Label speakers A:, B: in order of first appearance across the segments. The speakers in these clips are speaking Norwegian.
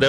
A: det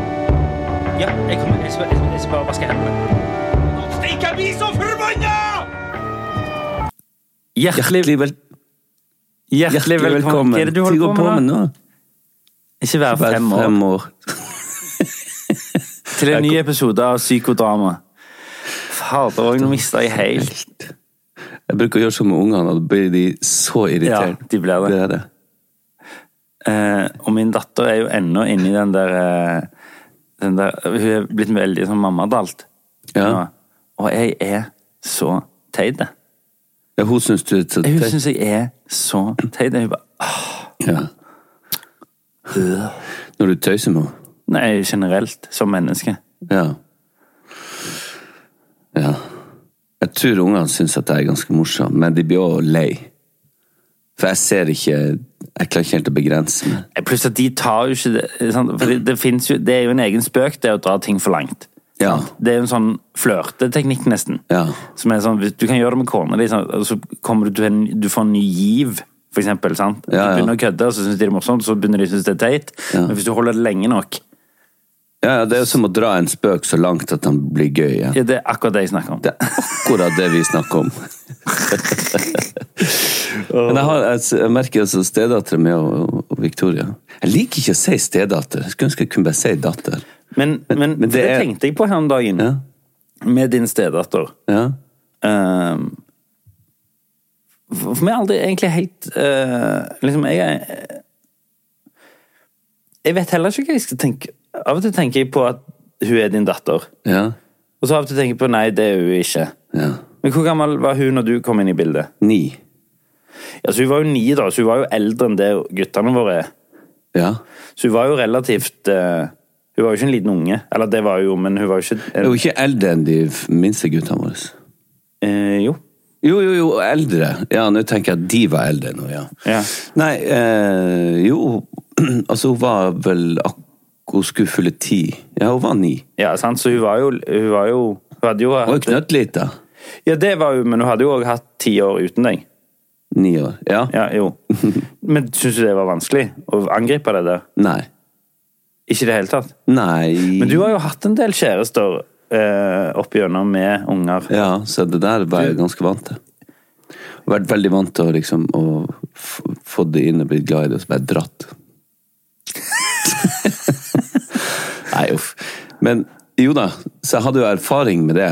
B: Ja, jeg kommer, jeg skal, jeg skal- jeg skal bare vaske hendene.
A: Stikk, jeg blir så forbanna!
C: Hjertelig, vel... Hjertelig velkommen.
B: Hva er det du holder
C: Til å
B: på
C: gå
B: med da?
C: nå?
B: Ikke være
C: Vær
B: fem år.
C: Fem år.
B: Til en ny episode av Psykodrama. Fader òg, nå mista jeg helt.
C: Jeg bruker å gjøre sånn med ungene, og da blir de så irritert.
B: Ja, de blir det.
C: det, er det.
B: Eh, og min datter er jo ennå inni den der, eh, den der Hun er blitt veldig sånn mammadalt.
C: Ja.
B: nå. Og jeg er så teit.
C: Ja, hun syns du er så
B: Hun
C: teit.
B: syns jeg er så teit. Hun bare
C: Ja. Når du tøyser med henne.
B: Nei, generelt. Som menneske.
C: Ja. Ja. Jeg tror ungene syns at jeg er ganske morsom, men de blir òg lei. For jeg ser ikke Jeg klarer ikke helt å begrense meg.
B: Eh, Pluss at de tar jo ikke det sant? For det, det, finnes jo, det er jo en egen spøk, det å dra ting for langt.
C: Ja.
B: Det er jo en sånn flørteteknikk, nesten.
C: Ja.
B: Som er sånn, hvis Du kan gjøre det med kona di, sant, og så kommer du til en, du får en ny giv, for eksempel. Sant?
C: Ja, ja.
B: Du begynner å kødde, og så syns de det er morsomt, så begynner de å synes det er teit.
C: Ja.
B: Men hvis du holder det lenge nok
C: Ja, ja, det er jo som å dra en spøk så langt at han blir gøy igjen.
B: ja, Det er akkurat det jeg snakker om.
C: Det er akkurat det vi snakker om. Men jeg, har, jeg, jeg merker altså stedattera mi og, og Victoria Jeg liker ikke å si stedatter. Jeg skulle ønske jeg kunne bare si datter.
B: Men, men,
C: Men- men
B: det,
C: det er-
B: tenkte jeg på her om dagen,
C: Ja,
B: med din stedatter.
C: ja,
B: Ehm, for for meg er aldri egentlig helt eh, Liksom, jeg er Jeg vet heller ikke hva jeg skal tenke. Av og til tenker jeg på at hun er din datter.
C: ja,
B: Og så av og til tenker jeg på nei, det er hun ikke.
C: ja.
B: Men hvor gammel var hun når du kom inn i bildet?
C: Ni.
B: Ja, så Hun var jo ni, da, så hun var jo eldre enn det guttene våre er.
C: Ja.
B: Så hun var jo relativt eh, Hun var jo ikke en liten unge. Eller det var hun jo, men hun var jo ikke eh,
C: Jeg er
B: en,
C: jo ikke eldre enn de f- minste guttene våre.
B: eh, Jo.
C: Jo, jo, jo, eldre. Ja, nå tenker jeg at de var eldre nå, ja.
B: Ja.
C: Nei, eh, jo Altså, hun var vel ak Hun skulle fylle ti. Ja, hun var ni.
B: Ja, sant? Så hun var jo Hun, var jo, hun hadde jo
C: Hun var
B: hatt,
C: knøttlita.
B: Ja, det var hun, men hun hadde jo òg hatt ti år uten deg.
C: Ni år. Ja.
B: Ja, jo. Men syns du det var vanskelig å angripe det der?
C: Nei.
B: Ikke i det hele tatt?
C: Nei
B: Men du har jo hatt en del kjærester eh, opp igjennom med unger.
C: Ja, så det der var jeg ganske vant til. Jeg har vært veldig vant til å liksom å f- få det inn og blitt glad i det, og så bare dratt. Nei, uff. Men jo da, så jeg hadde jo erfaring med det.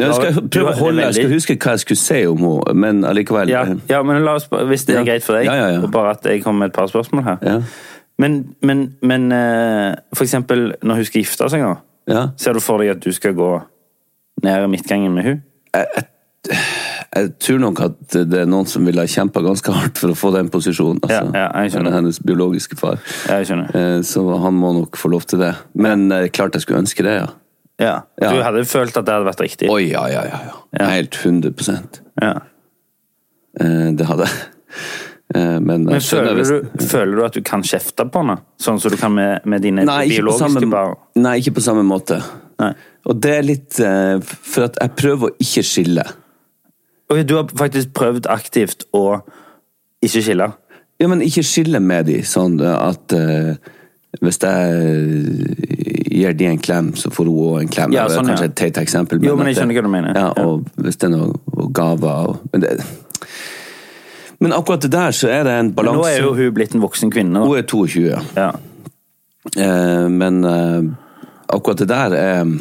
C: Jeg skal
B: Du har-
C: prøve å holde, jeg skal huske hva jeg skulle si om henne, men allikevel
B: Ja, ja, men la oss, bare- hvis det er
C: Ja.
B: greit for deg,
C: Ja, ja, ja.
B: og bare at jeg kommer med et par spørsmål her
C: Ja.
B: Men, men, men eh, for eksempel når hun skal gifte seg, nå,
C: Ja.
B: ser du for deg at du skal gå ned i midtgangen med hun?
C: Jeg tror nok at det er noen som ville ha kjempa ganske hardt for å få den posisjonen. Altså.
B: Ja, ja, jeg skjønner.
C: Hennes biologiske far.
B: Ja, jeg skjønner.
C: Eh, Så han må nok få lov til det. Men eh, klart jeg skulle ønske det, ja.
B: Ja.
C: Ja.
B: Du hadde følt at det hadde vært riktig?
C: Oi, ja, ja, ja. ja. Helt 100
B: Ja.
C: Eh, Det hadde jeg. Eh, Men, jeg
B: Men
C: skjønner
B: føler
C: hvis-
B: du, føler du at du kan kjefte på henne, sånn som du kan med, med dine
C: Nei, ikke på
B: biologiske barn?
C: samme, nei, ikke på samme måte.
B: Nei.
C: Og det er litt eh, For at jeg prøver å ikke skille.
B: Ok, du har faktisk prøvd aktivt å ikke skille.
C: Ja, men ikke skille med de, sånn at eh, hvis jeg gir de en klem, så får hun òg en klem.
B: Ja,
C: Det er
B: sånn,
C: kanskje
B: ja.
C: et teit eksempel.
B: Jo, men
C: at
B: jeg skjønner
C: det-
B: hva du mener.
C: Ja,
B: Ja.
C: og hvis det er noe og gaver og men, det, men akkurat det der, så er det en
B: Nå
C: balanse.
B: er jo hun blitt en voksen kvinne. Da.
C: Hun er 22, ja.
B: Ja.
C: Eh, men eh, akkurat det der er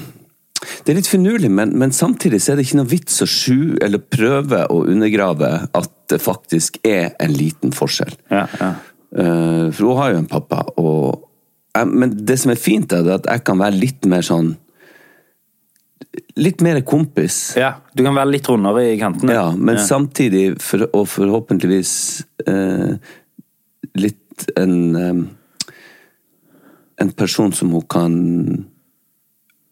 C: Det er litt finurlig, men, men samtidig så er det ikke noe vits å sju eller prøve å undergrave at det faktisk er en liten forskjell.
B: Ja, ja.
C: Eh, for hun har jo en pappa, og jeg, Men det som er fint, er det at jeg kan være litt mer sånn Litt mer kompis.
B: ja. Du kan være litt rundere i kantene.
C: Ja, men samtidig, for, og forhåpentligvis eh, litt en eh, En person som hun kan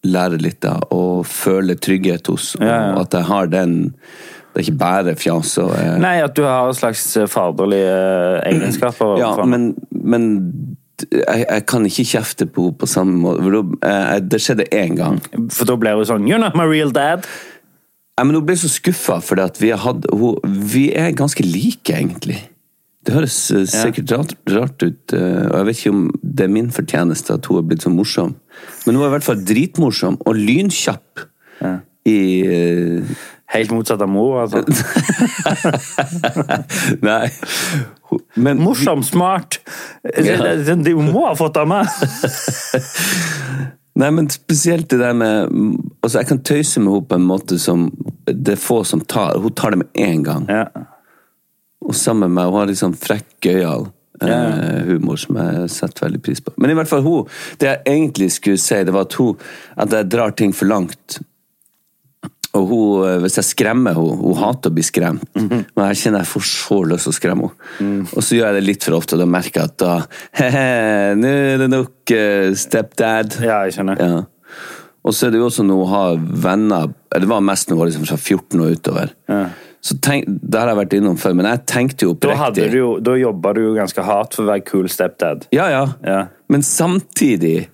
C: lære litt av, og føle trygghet hos. Og
D: Ja, ja.
C: At jeg har den Det er ikke bare fjas og eh,
D: Nei, at du har en slags
B: eh,
D: faderlige egenskaper.
C: Ja,
D: overfor han.
C: men, men jeg, jeg kan ikke kjefte på henne på samme måte. for da- eh, Det skjedde én gang.
D: For da blir hun sånn You're not my real dad.
C: Nei, men Hun ble så skuffa, for vi, har hatt- hun- vi er ganske like, egentlig. Det høres eh, sikkert rart, rart ut, eh, og jeg vet ikke om det er min fortjeneste at hun er blitt så morsom. Men hun er i hvert fall dritmorsom og lynkjapp. I eh,
D: Helt motsatt av mor. Altså.
C: Nei. Hun- Men,
D: Morsom, smart. Det, det, det, hun må ha fått av meg.
C: Nei, men spesielt det der med Altså, jeg kan tøyse med henne på en måte som det er få som tar. Hun tar det med én gang.
D: Ja.
C: Og sammen med meg, hun har litt sånn frekk, gøyal eh, humor som jeg setter veldig pris på. Men i hvert fall hun, det jeg egentlig skulle si, det var at hun at jeg drar ting for langt. Og hun, eh, hvis jeg skremmer henne, hun hater å bli skremt, men jeg kjenner jeg får så lyst til å skremme henne. Og så gjør jeg det litt for ofte, og da merker jeg at da «Hehe, Nå er det nok, eh, stepdad.
D: ja, jeg skjønner.
C: Ja. Og så er det jo også når hun har venner Det var mest når hun var liksom fra 14 og utover. Så tenk, Der har jeg vært innom før, men jeg tenkte jo
D: Da, hadde
C: oppriktig
D: du jo, da jobba du jo ganske hardt for å være cool stepdad.
C: ja, ja,
D: Ja.
C: Men samtidig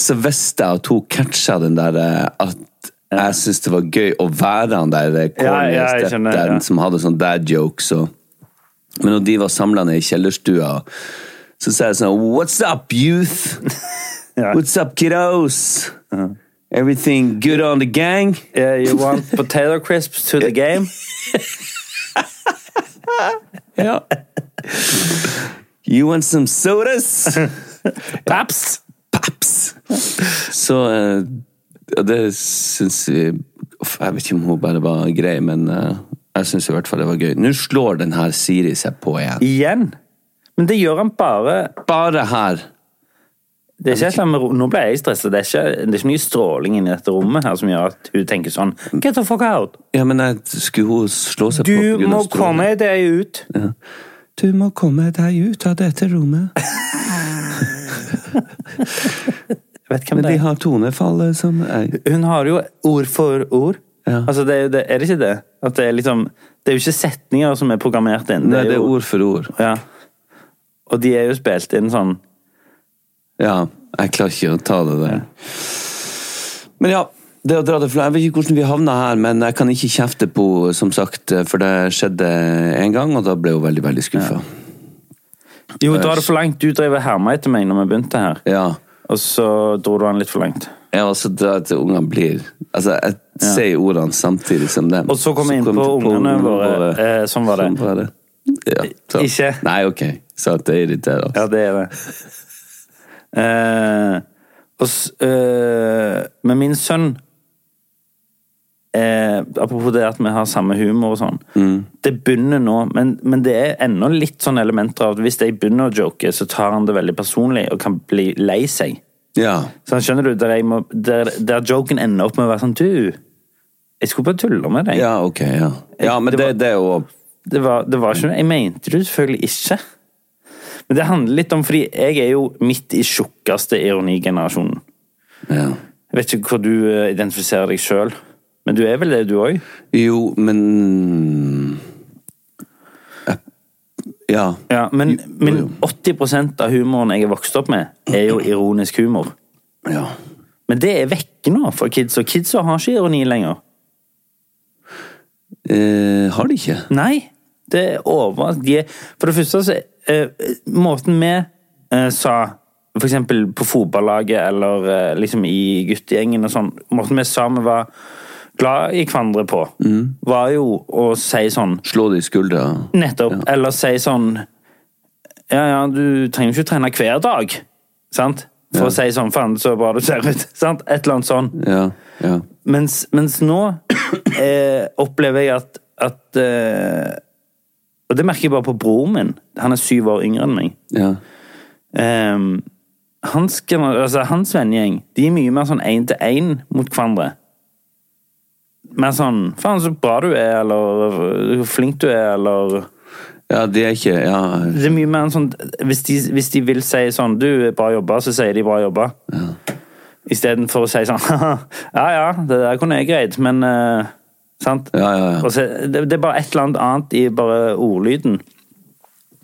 C: så visste jeg at hun catcha den der eh, at jeg syntes det var gøy å være han der eh, corny
D: Ja, ja, jeg skjønner,
C: stepdaden
D: ja.
C: som hadde sånn dad jokes og Men når de var samla ned i kjellerstua, så sa jeg sånn What's up, youth?
D: Ja.
C: What's up, kiddos? Everything good on the gang?
D: Eh, you want potato crisps to the game?
C: Ja. You want some sodas?
D: Paps!
C: Paps! Så eh, ja, det syns vi Uff, Jeg vet ikke om hun bare var grei, men eh, jeg syns i hvert fall det var gøy. Nå slår den her Siri seg på igjen.
D: Igjen. Men det gjør han bare
C: Bare her.
D: det er ikke et eller annet med ro- Nå ble jeg stresset. Det er ikke, det er ikke mye stråling inni dette rommet her som gjør at hun tenker sånn Get the fuck out!
C: Ja, men jeg, skulle hun slå seg på på
D: Du
C: grunn av
D: må
C: stråling?
D: komme deg ut!
C: Du må komme deg ut av dette rommet.
D: Jeg vet hvem
C: Men
D: det
C: de
D: er.
C: har tonefallet som jeg,
D: Hun har jo ord for ord.
C: Ja.
D: Altså, det, er jo det, er det ikke det? At det er liksom Det er jo ikke setninger som er programmert inn.
C: Nei, det er ord for ord.
D: Ja. Og de er jo spilt inn sånn
C: Ja, jeg klarer ikke å ta det der. Men ja, det å dra det fra Jeg vet ikke hvordan vi havna her, men jeg kan ikke kjefte på henne, som sagt, for det skjedde en gang, og da ble hun veldig, veldig skuffa.
D: Jo, drar det for langt. Du drev og herma etter meg når vi begynte her.
C: Ja.
D: Og så dro du han litt for langt.
C: ja, og så dra til ungene blir Altså, jeg sier ordene samtidig som dem.
D: Og så kom jeg inn på
C: jeg
D: ungene våre. Eh, sånn var det.
C: Sånn var det. Ja, så.
D: Ikke.
C: Nei, ok. Så at det irriterer oss.
D: Ja, det er det. Eh, og s eh, Men min sønn eh, Apropos det at vi har samme humor og sånn. Det begynner nå, men, men det er ennå litt sånn elementer av at hvis jeg begynner å joke, så tar han det veldig personlig og kan bli lei seg.
C: Ja.
D: Så han skjønner du, der, jeg må, der, der joken ender opp med å være sånn Du, jeg skulle bare tulle med deg.
C: ja, ok. Ja, ja men
D: Det var-
C: det, det er jo
D: Det var, det var ikke noe Jeg mente det jo selvfølgelig ikke. Men det handler litt om Fordi jeg er jo midt i tjukkeste ironigenerasjonen.
C: ja.
D: Jeg vet ikke hvor du eh, identifiserer deg sjøl, men du er vel det, du òg?
C: Jo, men eh, Ja.
D: Ja, men, men
C: jo.
D: 80 av humoren jeg er vokst opp med, er jo ironisk humor.
C: Ja.
D: Men det er vekke nå for kids, og kidsa har ikke ironi lenger.
C: Eh, har de ikke?
D: Nei, det er over... De er, for det første så eh, Måten vi eh, sa for eksempel på fotballaget eller eh, liksom i guttegjengen og sånn, måten vi sa vi var glad i hverandre på, var jo å si sånn
C: Slå de i skuldra?
D: Nettopp. Eller si sånn Ja, ja, du trenger ikke trene hver dag, sant? For å si sånn Faen, så bra du ser ut. Sant? Et eller annet sånn.
C: Ja. ja.
D: Mens, mens nå eh, opplever jeg at, at eh, Og det merker jeg bare på broren min. Han er syv år yngre enn meg.
C: ja.
D: Ehm, hans, gener- altså, hans vennegjeng de er mye mer sånn én-til-én mot hverandre. Mer sånn 'Faen, så bra du er', eller 'Hvor flink du er', eller
C: Ja, de er ikke Ja.
D: Det er mye mer en sånn hvis de, hvis de vil si sånn 'Du, bra jobba', så sier de 'bra jobba'. Istedenfor å si sånn Ja ja, det der kunne jeg greid, men eh, Sant?
C: Ja, ja, ja.
D: Og så, det, det er bare et eller annet annet i bare ordlyden.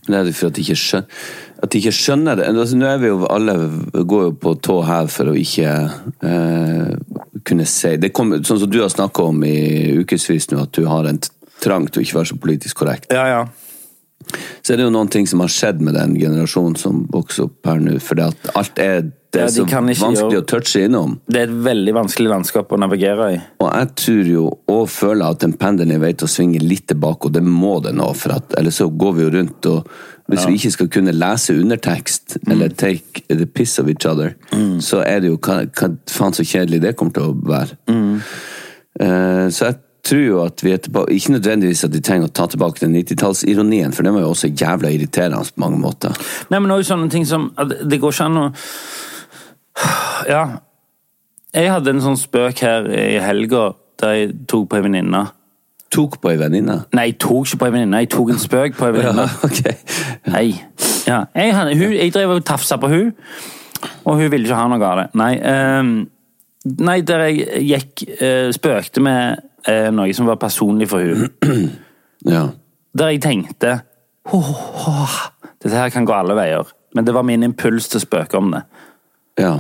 C: Nei, det er for at de ikke skjønner, at de ikke skjønner det. Altså, nå er vi jo alle går jo på tå hev for å ikke eh, kunne si det kom, Sånn som du har snakka om i ukevis nå, at du har en t- trang til å ikke være så politisk korrekt.
D: Ja ja.
C: Så er det jo noen ting som har skjedd med den generasjonen som vokser opp her nå, fordi at alt er det
D: Ja,
C: er
D: de
C: så
D: kan ikke
C: vanskelig
D: gjøre-
C: å touche innom.
D: Det er et veldig vanskelig landskap å navigere i.
C: Og jeg tror jo og føler at den pendelen er vei til å svinge litt tilbake, og det må det nå, for at, ellers så går vi jo rundt og Hvis vi ikke skal kunne lese undertekst,
D: Mm.
C: eller take the piss of each other, så er det jo hva, hva faen så kjedelig det kommer til å være.
D: Mm.
C: Eh, så jeg tror jo at vi er tilbake Ikke nødvendigvis at de trenger å ta tilbake den 90-tallsironien, for den var jo også jævla irriterende på mange måter.
D: Nei, men også sånne ting som at Det går ikke an å Ja. Jeg hadde en sånn spøk her i helga der jeg tok på ei venninne.
C: Tok på ei venninne.
D: Nei, jeg tok ikke på ei venninne, jeg tok en spøk på ei venninne.
C: ok.
D: Nei. Ja. Jeg, hadde, hun, jeg drev og tafsa på hun, og hun ville ikke ha noe av det. Nei, ehm, nei der jeg gikk eh, spøkte med eh, noe som var personlig for hun.
C: Ja.
D: Der jeg tenkte «Åh, åh, Dette her kan gå alle veier. Men det var min impuls til å spøke om det.
C: ja.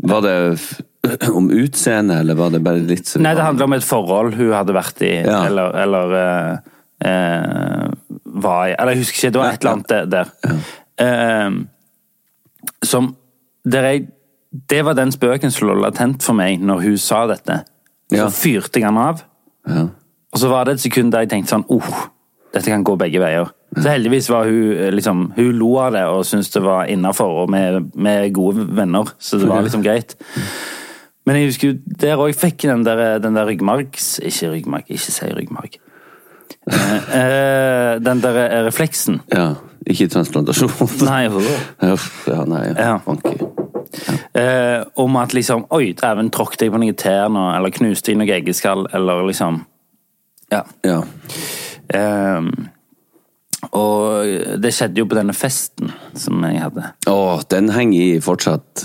C: Var det f- om utseende, eller var det bare litt sånn
D: Nei, det handler om et forhold hun hadde vært i,
C: Ja.
D: eller, eller eh, eh, var i Eller jeg husker ikke, det var et eller annet der. der. Eh, som der jeg, Det var den spøken som lå latent for meg når hun sa dette. Så
C: Ja.
D: fyrte jeg den av,
C: Ja.
D: og så var det et sekund der jeg tenkte sånn oh, Dette kan gå begge veier. Så heldigvis var hun eh, liksom, hun lo av det og syntes det var innafor, og med, med gode venner, så det var liksom greit. Men jeg husker jo der òg fikk jeg den der, den der ryggmargs... Ikke ryggmarg, ikke si ryggmarg. Eh, eh, den der eh, refleksen.
C: ja. Ikke transplantasjon.
D: Nei,
C: Uff, ja, nei.
D: Ja.
C: Funky.
D: eh, om at liksom Oi, dæven, tråkket jeg på noen tær nå? Eller knuste jeg noe eggeskall? Eller liksom Ja.
C: Ja.
D: Eh, og det skjedde jo på denne festen som jeg hadde.
C: Å, den henger i fortsatt.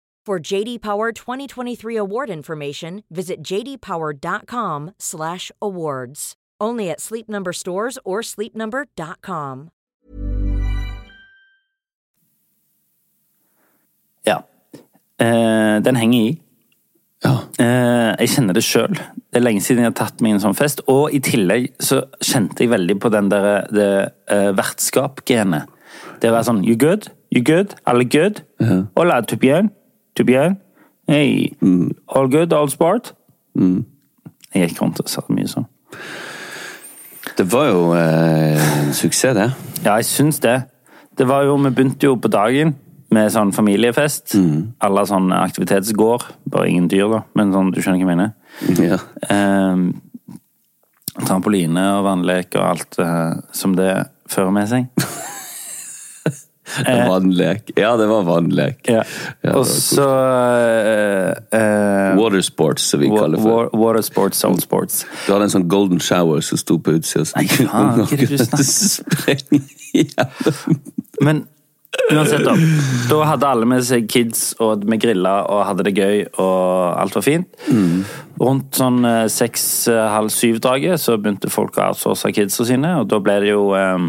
E: For JD Power 2023 award information, visit jdpower.com/awards. Only at Sleep Number stores or sleepnumber.com.
D: Ja. Eh, den henger i.
C: Ja.
D: Eh, jeg kjenner det sjøl. Det er lenge siden jeg har tatt meg en sånn fest. Og i tillegg så kjente jeg veldig på den der, det eh, vertskap-genet. Det var sånn You good? You good? Alle good? Hola, tout bien? Tout bien? Hey. All good? All sport? Jeg gikk rundt og sa mye sånn.
C: Det var jo eh, en suksess, det.
D: Ja, jeg syns det. Det var jo, Vi begynte jo på dagen med sånn familiefest. Alle sånn aktivitetsgård. Bare ingen dyr, da, men sånn, du skjønner hva jeg mener.
C: Ja.
D: Ehm, trampoline og vannlek og alt eh, som det fører med seg.
C: Det var en lek. Ja, det var en lek. Ja, det var
D: Eh. og så eh, eh,
C: Watersports, som vi
D: wa-
C: kaller det for.
D: wa- Water sports, soul sports.
C: Du hadde en sånn golden shower som sto på utsida, så
D: Nei,
C: du kunne-
D: faen, hva er det du
C: kunne
D: snakker om?
C: sprenge igjennom.
D: Men uansett, da. Da hadde alle med seg kids, og vi grilla og hadde det gøy, og alt var fint. Rundt sånn eh, seks, eh, halv syv-draget så begynte folk å outsource kidsa sine, og da ble det jo eh,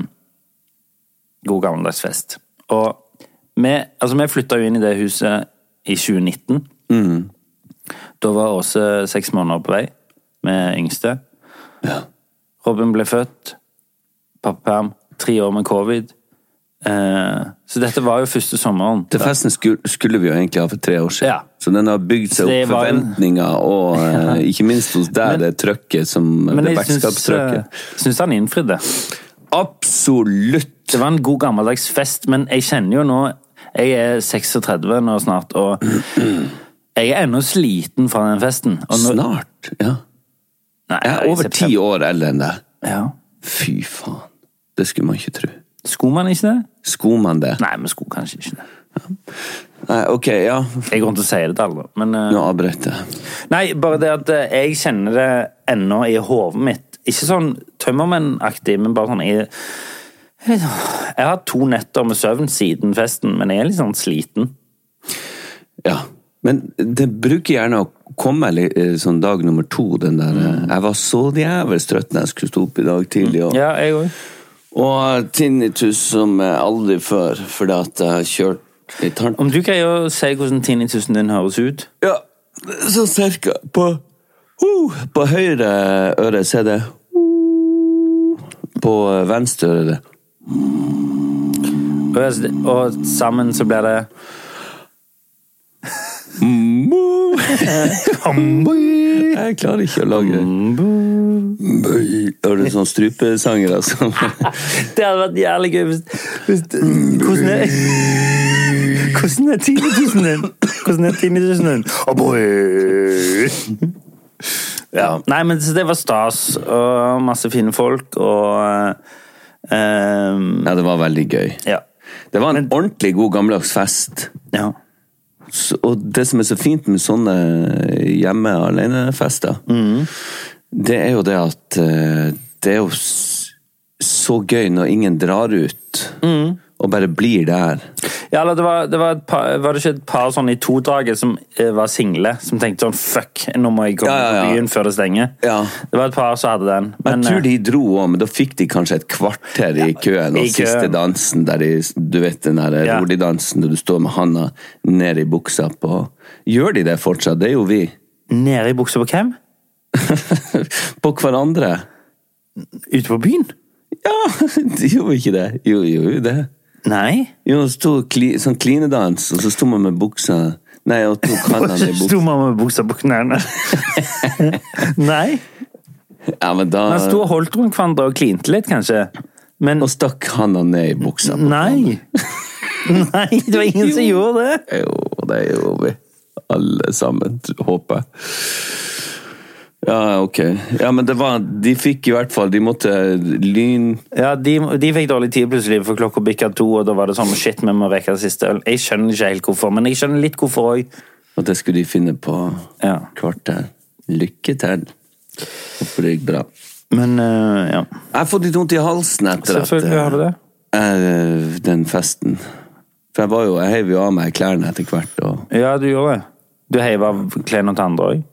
D: god gammeldags fest. Og
B: vi, altså, vi flytta jo inn i det huset i 2019. Da var Åse seks måneder på vei med yngste. Robin ble født. Pappaperm. Tre år med covid. Eh, så dette var jo første sommeren.
C: Til festen skulle, skulle vi jo egentlig ha for tre år siden.
B: Ja.
C: Så den har bygd seg
B: Så det
C: opp
B: var-
C: forventninger, og eh, ikke minst hos deg, det trøkket som
B: Men
C: Det
B: jeg syns, eh,
C: vertskapstrøkket.
B: syns han innfridde.
C: Absolutt!
B: Det var en god gammeldags fest, men jeg kjenner jo nå Jeg er 36 nå snart, og jeg er ennå sliten fra den festen. Og nå,
C: Snart. Ja.
B: Nei,
C: Jeg er over
B: i
C: ti
B: september.
C: år eldre enn deg.
B: Ja.
C: Fy faen. Det skulle man ikke tro.
B: Skulle man ikke det?
C: Skulle man det?
B: Nei, vi skulle kanskje ikke det.
C: Nei, ok, ja.
B: Jeg kommer til å si det til alle, men eh,
C: Nå avbrøt jeg.
B: Nei, bare det at eh, jeg kjenner det ennå i hodet mitt. Ikke sånn tømmermenn-aktig, men bare sånn jeg, jeg har hatt to netter med søvn siden festen, men jeg er litt sånn sliten.
C: Ja. Men det bruker gjerne å komme li- eh, sånn dag nummer to, den der eh, Jeg var så djevelsk trøtt da jeg skulle stå opp i dag tidlig. Og,
B: Mm. Ja, jeg òg.
C: og tinnitus som eh, aldri før, fordi at jeg har kjørt litt hardt.
B: Om du greier å si hvordan tinnitusen din høres ut?
C: Ja, så cirka på uh, På høyre øre så er det uh, På venstre øre er det
B: Og, og sammen så blir det
C: Mu. Jeg klarer ikke å lage Mu. Er det sånn strupesangere som
B: Det hadde vært jævlig gøy hvis, hvis Hvordan er Hvordan er tinnitusen din? Hvordan er tinnitusen din? Oh boy. ja. Nei, men så det var stas, og masse fine folk, og eh,
C: Ja, det var veldig gøy.
B: Ja.
C: Det var en ordentlig god gammeldags fest.
B: ja.
C: Så- Og det som er så fint med sånne eh, hjemme alene-fester,
B: Mm.
C: det er jo det at eh, det er jo s- så gøy når ingen drar ut
B: Mm.
C: og bare blir der.
B: Ja, eller det var, det var, et par, var det ikke et par sånn i to-draget som eh, var single, som tenkte sånn fuck, nå må jeg komme
C: Ja, ja, ja.
B: på byen før det stenger?
C: Ja.
B: Det var et par som hadde den.
C: Men,
B: Men,
C: jeg tror
B: eh,
C: de dro òg, men da fikk de kanskje et kvarter i køen. Og
B: i køen.
C: siste dansen, der de, du vet den der
B: Ja.
C: rolig dansen der du står med handa ned i buksa på Gjør de det fortsatt? Det gjorde vi.
B: Nede i buksa på hvem?
C: på hverandre.
B: Ute på byen?
C: Ja, de gjorde ikke det. Jo, jo, jo, det.
B: Nei.
C: Jo, det sto kli, sånn klinedans, og så sto man med buksa Nei, og tok handa i buksa.
B: Sto man med buksa på knærne? Nei.
C: Ja, men da
B: Han sto og holdt rundt hverandre og klinte litt, kanskje. Men
C: Og stakk handa ned i buksa.
B: nei. Nei, det var ingen som gjorde det.
C: Jo, det gjorde vi. Alle sammen, håper jeg. Ja, ok. Ja, men det var De fikk i hvert fall De måtte lyn
B: Ja, de, de fikk dårlig tid plutselig, for klokka bikka to, og da var det sånn shit, vi må rekke det siste øl. Jeg skjønner ikke helt hvorfor, men jeg skjønner litt hvorfor òg.
C: Og det skulle de finne på
B: Ja.
C: kvarter. Lykke til. Håper det gikk bra.
B: Men øh, ja.
C: Jeg har fått litt vondt i halsen etter at
B: Selvfølgelig har du det.
C: eh, den festen. For jeg var jo Jeg heiv jo av meg klærne etter hvert, og
B: Ja, du gjorde det. Du heiv av klærne til andre òg.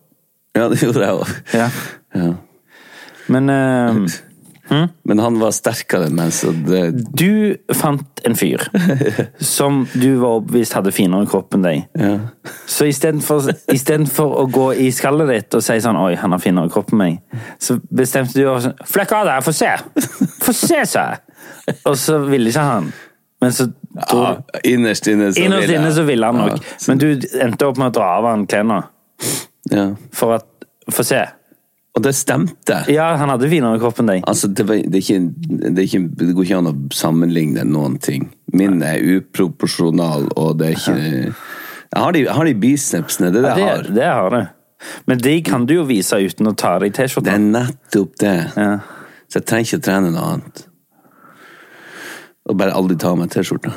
C: Ja, det gjorde jeg òg.
B: Ja.
C: Ja.
B: Men øh,
C: Men han var sterkere enn meg, så det
B: Du fant en fyr som du var overbevist hadde finere kropp enn deg. Så istedenfor istedenfor å gå i skallet ditt og si sånn 'oi, han har finere kropp enn meg', så bestemte du deg sånn 'flekk av deg, få se'! Få se, sa jeg! Og så ville ikke han. Men så dro
C: ja, Ah, Innerst inne så
B: Innerst
C: ville jeg-
B: inne så ville han
C: Ja,
B: nok.
C: så-
B: Men du endte opp med å dra av han klærne
C: Ja.
B: for at Få se.
C: Og det stemte.
B: Ja, han hadde finere kropp enn deg.
C: Altså, det, var, det, er ikke, det, er ikke, det går ikke an å sammenligne noen ting. Min er uproporsjonal, og det er ikke Jeg har de, jeg har de bicepsene, det er det jeg har.
B: Det, det har du. Men de kan du jo vise uten å ta av deg
C: Det er
B: T-skjorta.
C: nettopp det.
B: Ja.
C: Så jeg trenger ikke å trene noe annet. Og bare aldri ta av meg T-skjorta.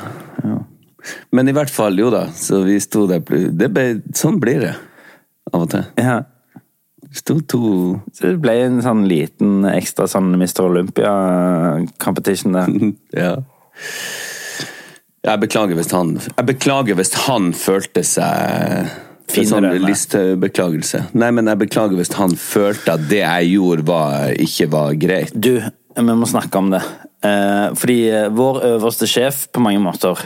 C: Men i hvert fall, jo da. Så vi sto der pl- det ble, Sånn blir det av og til.
B: Ja.
C: Vi sto to
B: Så det ble en sånn liten ekstra sånn Mr. Olympia-competition der.
C: Ja. Jeg beklager hvis han Jeg beklager hvis han følte seg det er
B: Finere
C: sånn
B: enn meg.
C: listebeklagelse. Nei, men jeg beklager hvis han følte at det jeg gjorde, var, ikke var greit.
B: Du, vi må snakke om det. Eh, fordi eh, vår øverste sjef på mange måter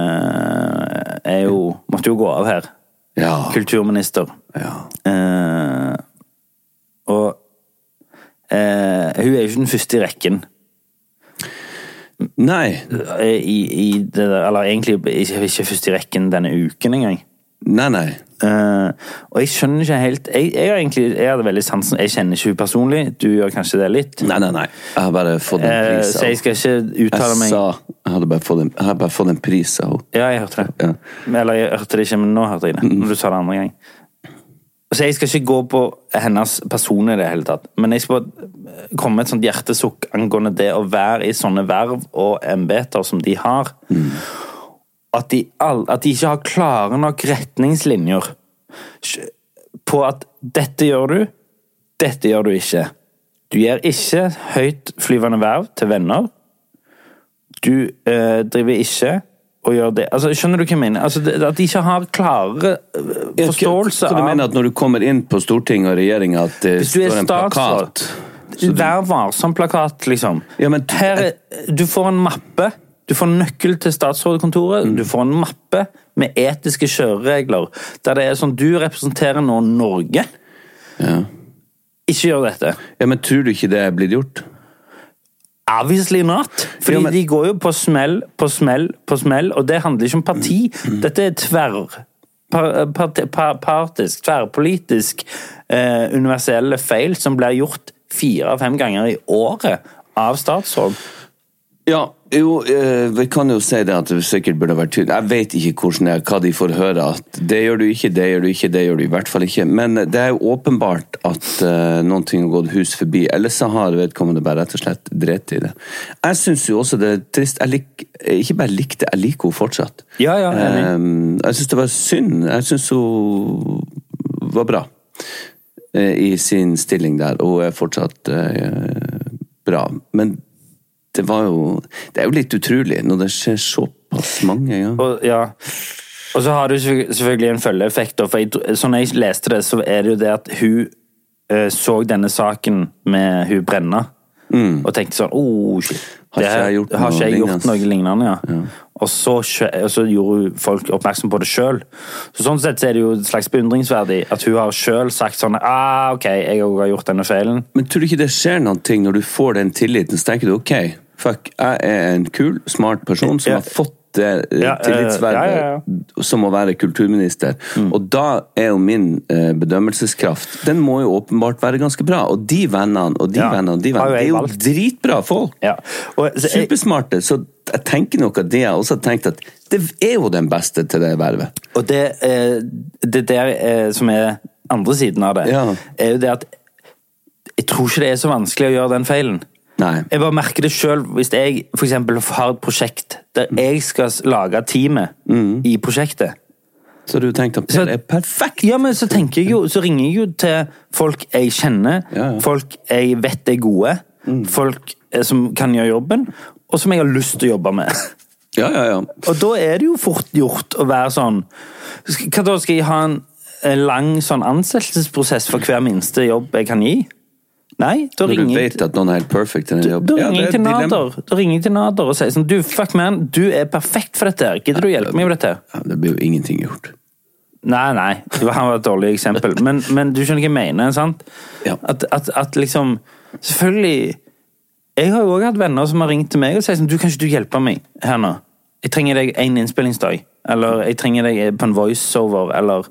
B: eh, er jo Måtte jo gå av her.
C: Ja.
B: Kulturminister.
C: ja.
B: Eh, og eh, hun er jo ikke den første i rekken.
C: Nei.
B: eh, I, i det der, eller egentlig ikke, ikke først i rekken denne uken engang.
C: Nei, nei.
B: Eh, og jeg skjønner ikke helt Jeg, jeg, har egentlig, jeg hadde veldig sansen Jeg kjenner ikke hun personlig, du gjør kanskje det litt.
C: Nei, nei, nei. Jeg har bare fått en
B: Eh,
C: pris av
B: så jeg skal ikke uttale
C: Jeg
B: meg
C: sa Jeg hadde bare fått en, jeg hadde bare fått en pris av henne.
B: Ja, jeg hørte det. Eller jeg hørte det ikke, men nå hørte jeg
C: Mm.
B: det. Når du sa det andre gang. Så jeg skal ikke gå på hennes person i det hele tatt. Men jeg skal bare eh, komme med et sånt hjertesukk angående det å være i sånne verv og embeter som de har.
C: Mm.
B: At, de all, at de ikke har klare nok retningslinjer på at dette gjør du, dette gjør du ikke. Du gjør ikke høytflyvende verv til venner. Du eh, driver ikke og gjør det. Altså, skjønner du hva jeg mener? Altså, det, at de ikke har klare eh, forståelse
C: Hva du mener
B: av
C: at når du kommer inn på Stortinget og regjeringa, at det
B: Hvis du er
C: står en
B: statsråd
C: plakat
B: Vær varsom-plakat, liksom.
C: Ja, men-
B: Her er, du får en mappe. Du får en nøkkel til statsrådkontoret. Du får en mappe med etiske kjøreregler. Der det er sånn Du representerer nå Norge.
C: ja.
B: Ikke gjør dette.
C: ja, men tror du ikke det er blitt gjort?
B: Obviously not. Fordi
C: Ja, men-
B: de går jo på smell, på smell, på smell, og det handler ikke om parti. Dette er tverr... par- part- par- Partisk, tverrpolitisk, eh, universelle feil som blir gjort fire av fem ganger i året av statsråd.
C: Ja, jo, eh, vi kan jo si det at det sikkert burde vært tydelig. Jeg vet ikke hvordan det er, hva de får høre. At det gjør du ikke, det gjør du ikke, det gjør du i hvert fall ikke. Men det er jo åpenbart at eh, noen ting har gått hus forbi. Ellers så har vedkommende bare rett og slett drept i det. Jeg syns jo også det er trist. Jeg lik, ikke bare likte, jeg liker henne fortsatt.
B: Ja, ja, enig.
C: Ehm, jeg syns det var synd. Jeg syns hun var bra eh, i sin stilling der, og hun er fortsatt eh, bra. Men det var jo Det er jo litt utrolig når det skjer såpass mange ganger.
B: Og, ja. og så har du selvfø- selvfølgelig en følgeeffekt. da, For jeg, tro- sånn jeg leste det, så er det jo det at hun eh, så denne saken med hun Brenna, og tenkte sånn oh, shit.
C: Mm. Har
B: det
C: ikke
B: her-
C: jeg gjort
B: har ikke
C: noe
B: jeg gjort
C: lignende?»
B: noe lignende? Ja. Og, så, skjø- og så gjorde hun folk oppmerksom på det sjøl. Så sånn sett så er det jo et slags beundringsverdig at hun har sjøl sagt sånn ah, OK, jeg òg har gjort denne feilen.
C: Men tror du ikke det skjer noen ting når du får den tilliten? Så tenker du ok, fuck, jeg er en kul, smart person
B: Ja.
C: som har fått det eh,
B: Ja, eh,
C: tillitsvervet
B: ja, ja, Mm.
C: som å være kulturminister. Og da er jo min eh, bedømmelseskraft Den må jo åpenbart være ganske bra. Og de vennene og de
B: Ja.
C: vennene og de
B: Har jo
C: vennene, det
B: jeg
C: er jo
B: valgt.
C: dritbra folk.
B: Ja. Og, så jeg,
C: Supersmarte. Så jeg tenker nok at det jeg også har tenkt at det er jo den beste til det vervet.
B: Og det, eh, det der eh, som er andre siden av det,
C: Ja.
B: er jo det at jeg tror ikke det er så vanskelig å gjøre den feilen.
C: Nei.
B: Jeg bare merker det sjøl hvis jeg for eksempel, har et prosjekt
C: Mm.
B: der jeg skal s- lage teamet i prosjektet.
C: Så har du tenkt at
B: Så-
C: Mm. det er perfekt.
B: Ja, men så tenker jeg jo, så ringer jeg jo til folk jeg kjenner,
C: Ja, Mm. ja.
B: folk jeg vet er gode, folk eh, som kan gjøre jobben, og som jeg har lyst til å jobbe med.
C: Ja, ja, ja.
B: Og da er det jo fort gjort å være sånn sk- Hva da, skal jeg ha en, en lang sånn ansettelsesprosess for hver minste jobb jeg kan gi? Nei, da
C: Når du
B: ringer jeg
C: vet at noen er helt perfect i den
B: da
C: jobben. Ja,
B: ringer
C: det er
B: jeg til
C: et dilemma.
B: Nader Da ringer jeg til Nader og sier sånn Du, fuck man, du er perfekt for dette. her. Gidder du å hjelpe meg med dette? her?»
C: Ja, det blir jo ingenting gjort.
B: Nei, nei, det var- han var et dårlig eksempel. Men, men du skjønner hva jeg mener, sant?
C: Ja.
B: At, at, at liksom Selvfølgelig Jeg har jo òg hatt venner som har ringt til meg og sagt sånn Du, kan ikke du hjelpe meg her nå? Jeg trenger deg én innspillingsdag. Eller jeg trenger deg på en voiceover, eller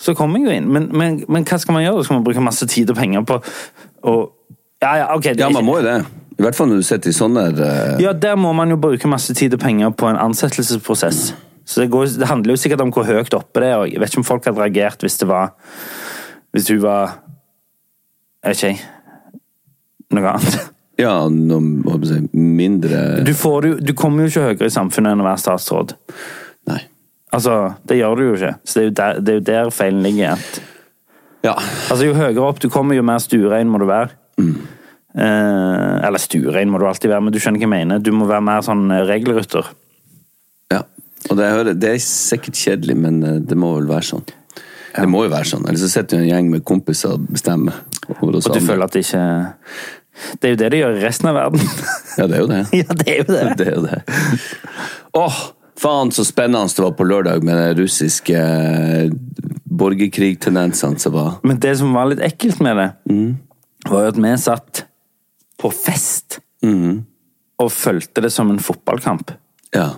B: Så kommer jeg jo inn. Men, men, men hva skal man gjøre? Skal man bruke masse tid og penger på å Ja, ja, ok. det er
C: Ja, man
B: ikke-
C: må jo det. I hvert fall når du sitter i sånne eh,
B: ja, der må man jo bruke masse tid og penger på en ansettelsesprosess. Så det, går, det handler jo sikkert om hvor høyt oppe det er. og Jeg vet ikke om folk hadde reagert hvis det var Hvis hun var Jeg vet ikke, jeg. Noe annet.
C: Ja, noe hva skal jeg si, mindre
B: Du, får, det jo- du kommer jo ikke høyere i samfunnet enn å være statsråd.
C: Nei.
B: Altså, Det gjør du jo ikke. Så det er jo der, det er jo der feilen ligger. At,
C: Ja.
B: altså, Jo høyere opp du kommer, jo mer stuerein må du være. Eh, eller stuerein må du alltid være, men du skjønner hva jeg mener. Du må være mer sånn eh, regelrytter.
C: ja. Og det, jeg hører, det er sikkert kjedelig, men eh, det må vel være sånn. Det må jo være sånn. Ellers så sitter jo en gjeng med kompiser og bestemmer over oss
B: Og du
C: andre.
B: føler at det ikke Det er jo det de gjør i resten av verden.
C: Ja, det er jo det.
B: ja, det er jo det.
C: Det er jo det. Åh, faen så spennende det var på lørdag med de russiske eh, borgerkrigtendensene som var.
B: Men det som var litt ekkelt med det,
C: Mm.
B: var jo at vi satt på fest
C: Mm.
B: og fulgte det som en fotballkamp.
C: Ja.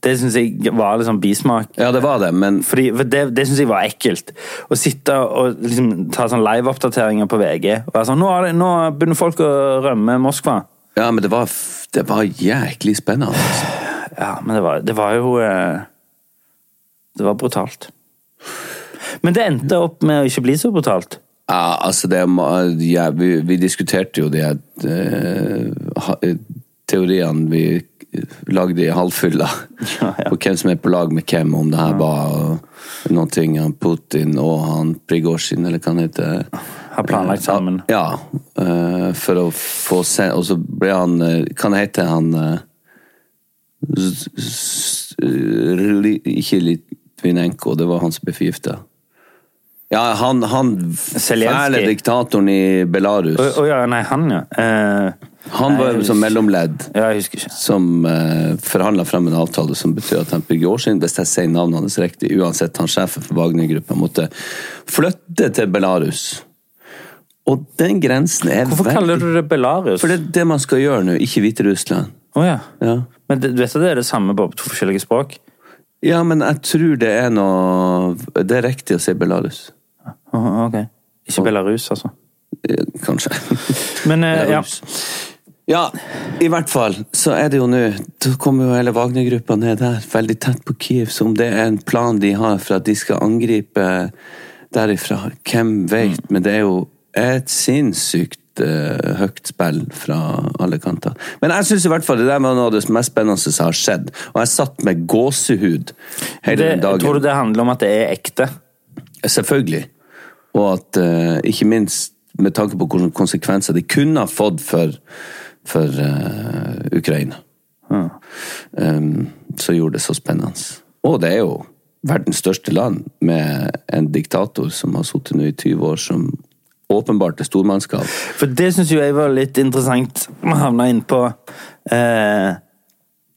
B: Det syns jeg var litt sånn bismak.
C: ja, det var det, men
B: Fordi, for det det syns jeg var ekkelt. Å sitte og liksom, ta sånn live-oppdateringer på VG og være sånn nå, er det, 'Nå begynner folk å rømme Moskva'.
C: Ja, men det var, f- det var jæklig spennende. altså.
B: Ja, men det var, det var jo eh, Det var brutalt. Men det endte opp med å ikke bli så brutalt.
C: Ja, altså det, må- ja, vi, vi diskuterte jo de her eh, ha- eh, teoriene vi lagde i halvfylla.
B: Ja, ja.
C: På hvem som er på lag med hvem, om det her var og noen ting han Putin og han Prigozjin, eller hva han heter.
B: Har planlagt sammen.
C: Ja. eh, for å få se Og så ble han eh, Hva han heter han eh, Z- Z- Li- Ikke Litvinenko, det var han som ble forgifta. Ja, han, han
B: Zelenskyj.
C: fæle diktatoren i Belarus.
B: Å å ja, nei, han, ja. Eh,
C: Han
B: nei,
C: var
B: jeg
C: jo som
B: husker-
C: mellomledd
B: Ja, jeg husker ikke.
C: som eh, forhandla frem en avtale som betyr at han Prigozjin, hvis jeg sier navnet hans riktig, uansett han sjefen for Wagner-gruppa, måtte flytte til Belarus. Og den grensen er
B: Hvorfor kaller du det Belarus?
C: For det er det man skal gjøre nå, ikke Hviterussland.
B: Å ja.
C: Ja.
B: Men det, du vet at det er det samme på to forskjellige språk?
C: ja, men jeg tror det er noe Det er riktig å si Belarus.
B: Å, ok. Ikke Belarus, altså.
C: Eh, Kanskje.
B: Men eh, ja.
C: Belarus. Ja, i hvert fall så er det jo nå Da kommer jo hele Wagner-gruppa ned der, veldig tett på Kiev, så om det er en plan de har for at de skal angripe derifra, hvem vet,
B: Mm.
C: men det er jo et sinnssykt eh, høyt spill fra alle kanter. Men jeg syns i hvert fall det der var noe av det mest spennende som har skjedd, og jeg satt med gåsehud hele
B: Det,
C: den dagen.
B: tror du det handler om at det er ekte?
C: Selvfølgelig. Og at eh, ikke minst med tanke på hvilke konsekvenser det kunne ha fått for, for eh, Ukraina. Em, så gjorde det så spennende. Og det er jo verdens største land med en diktator som har sittet nå i 20 år, som åpenbart er stormannskap.
B: For det syns jo jeg var litt interessant. Vi havna inn på eh,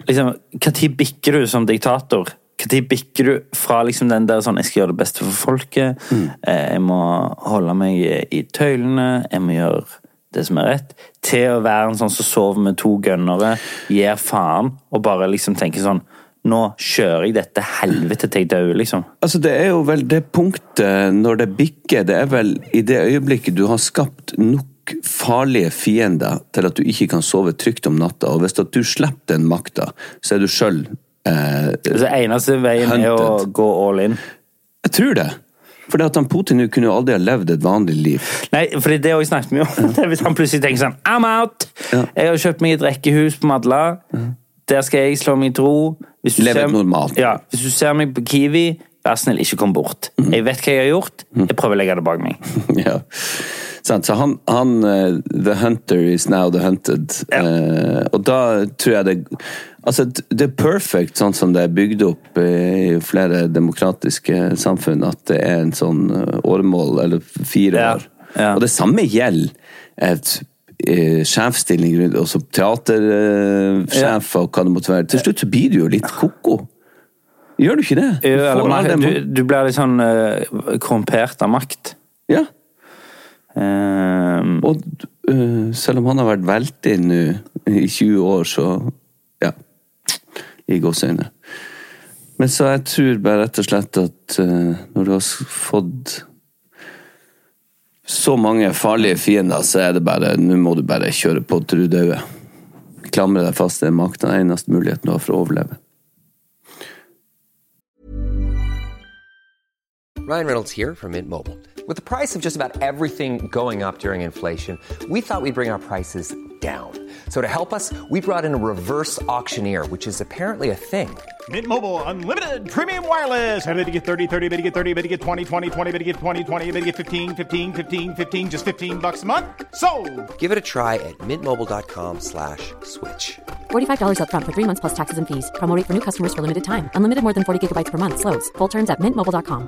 B: liksom, Når bikker du som diktator? Når bikker du fra liksom den der sånn 'jeg skal gjøre det beste for folket', eh, 'jeg må holde meg eh, i tøylene', Eh, 'jeg må gjøre det som er rett', til å være en sånn som sover med to gønnere, gir faen, og bare liksom tenker sånn 'nå kjører jeg dette helvete til jeg dør', liksom.
C: Altså, det er jo vel det punktet når det bikker, det er vel i det øyeblikket du har skapt nok farlige fiender til at du ikke kan sove trygt om natta, og hvis at du slipper den makta, så er du sjøl eh,
B: Så eneste veien er å
C: Hunted.
B: gå all in.
C: Jeg tror det. For at han Putin jo kunne jo aldri ha levd et vanlig liv.
B: Nei, for det er også snakket vi om. Det er hvis han plutselig tenker sånn I'm out!
C: Ja.
B: Jeg har kjøpt meg et rekkehus på Madla. Der skal jeg slå meg til ro. Hvis
C: Leve et normalt liv.
B: Ja, hvis du ser meg på Kiwi, vær snill, ikke kom bort.
C: Mm.
B: Jeg vet hva jeg har gjort. Jeg prøver å legge det bak meg.
C: ja. Sant, Så han, han eh, The hunter is now the hunted. Eh, og da tror jeg det Altså, d- det er perfect sånn som det er bygd opp eh, i flere demokratiske samfunn, at det er en sånn eh, åremål, eller fire
B: Ja.
C: år.
B: Ja.
C: Og det samme gjelder et eh, sjefsstilling rundt, også teatersjef og hva det måtte være. Til slutt så blir du jo litt ko-ko. Gjør du ikke det? Du
B: Jo, eller
C: får
B: man-
C: alle
B: du,
C: mo-
B: du blir litt sånn eh, korrumpert av makt.
C: ja.
B: Ehm,
C: Og øh, selv om han har vært veldig nå i 20 år, så ja. I gåseøyne. Men så jeg tror bare rett og slett at øh, når du har s- fått så mange farlige fiender, så er det bare Nå må du bare kjøre på til du dauer. Klamre deg fast til makta. Det er eneste muligheten du har for å overleve.
F: Ryan Reynolds here from Mint Mobile. With the price of just about everything going up during inflation, we thought we'd bring our prices down. So to help us, we brought in a reverse auctioneer, which is apparently a thing.
G: Mint Mobile unlimited premium wireless. Ready to get 30, 30, bet you get 30, bet you get 20, 20, 20, bet you get 20, 20, bet you get 15, 15, 15, 15 just 15 bucks a month. So,
F: Give it a try at mintmobile.com slash switch.
H: $45 upfront for three months plus taxes and fees. Promoting for new customers for limited time. Unlimited more than 40 gigabytes per month. Slows. Full terms at mintmobile.com.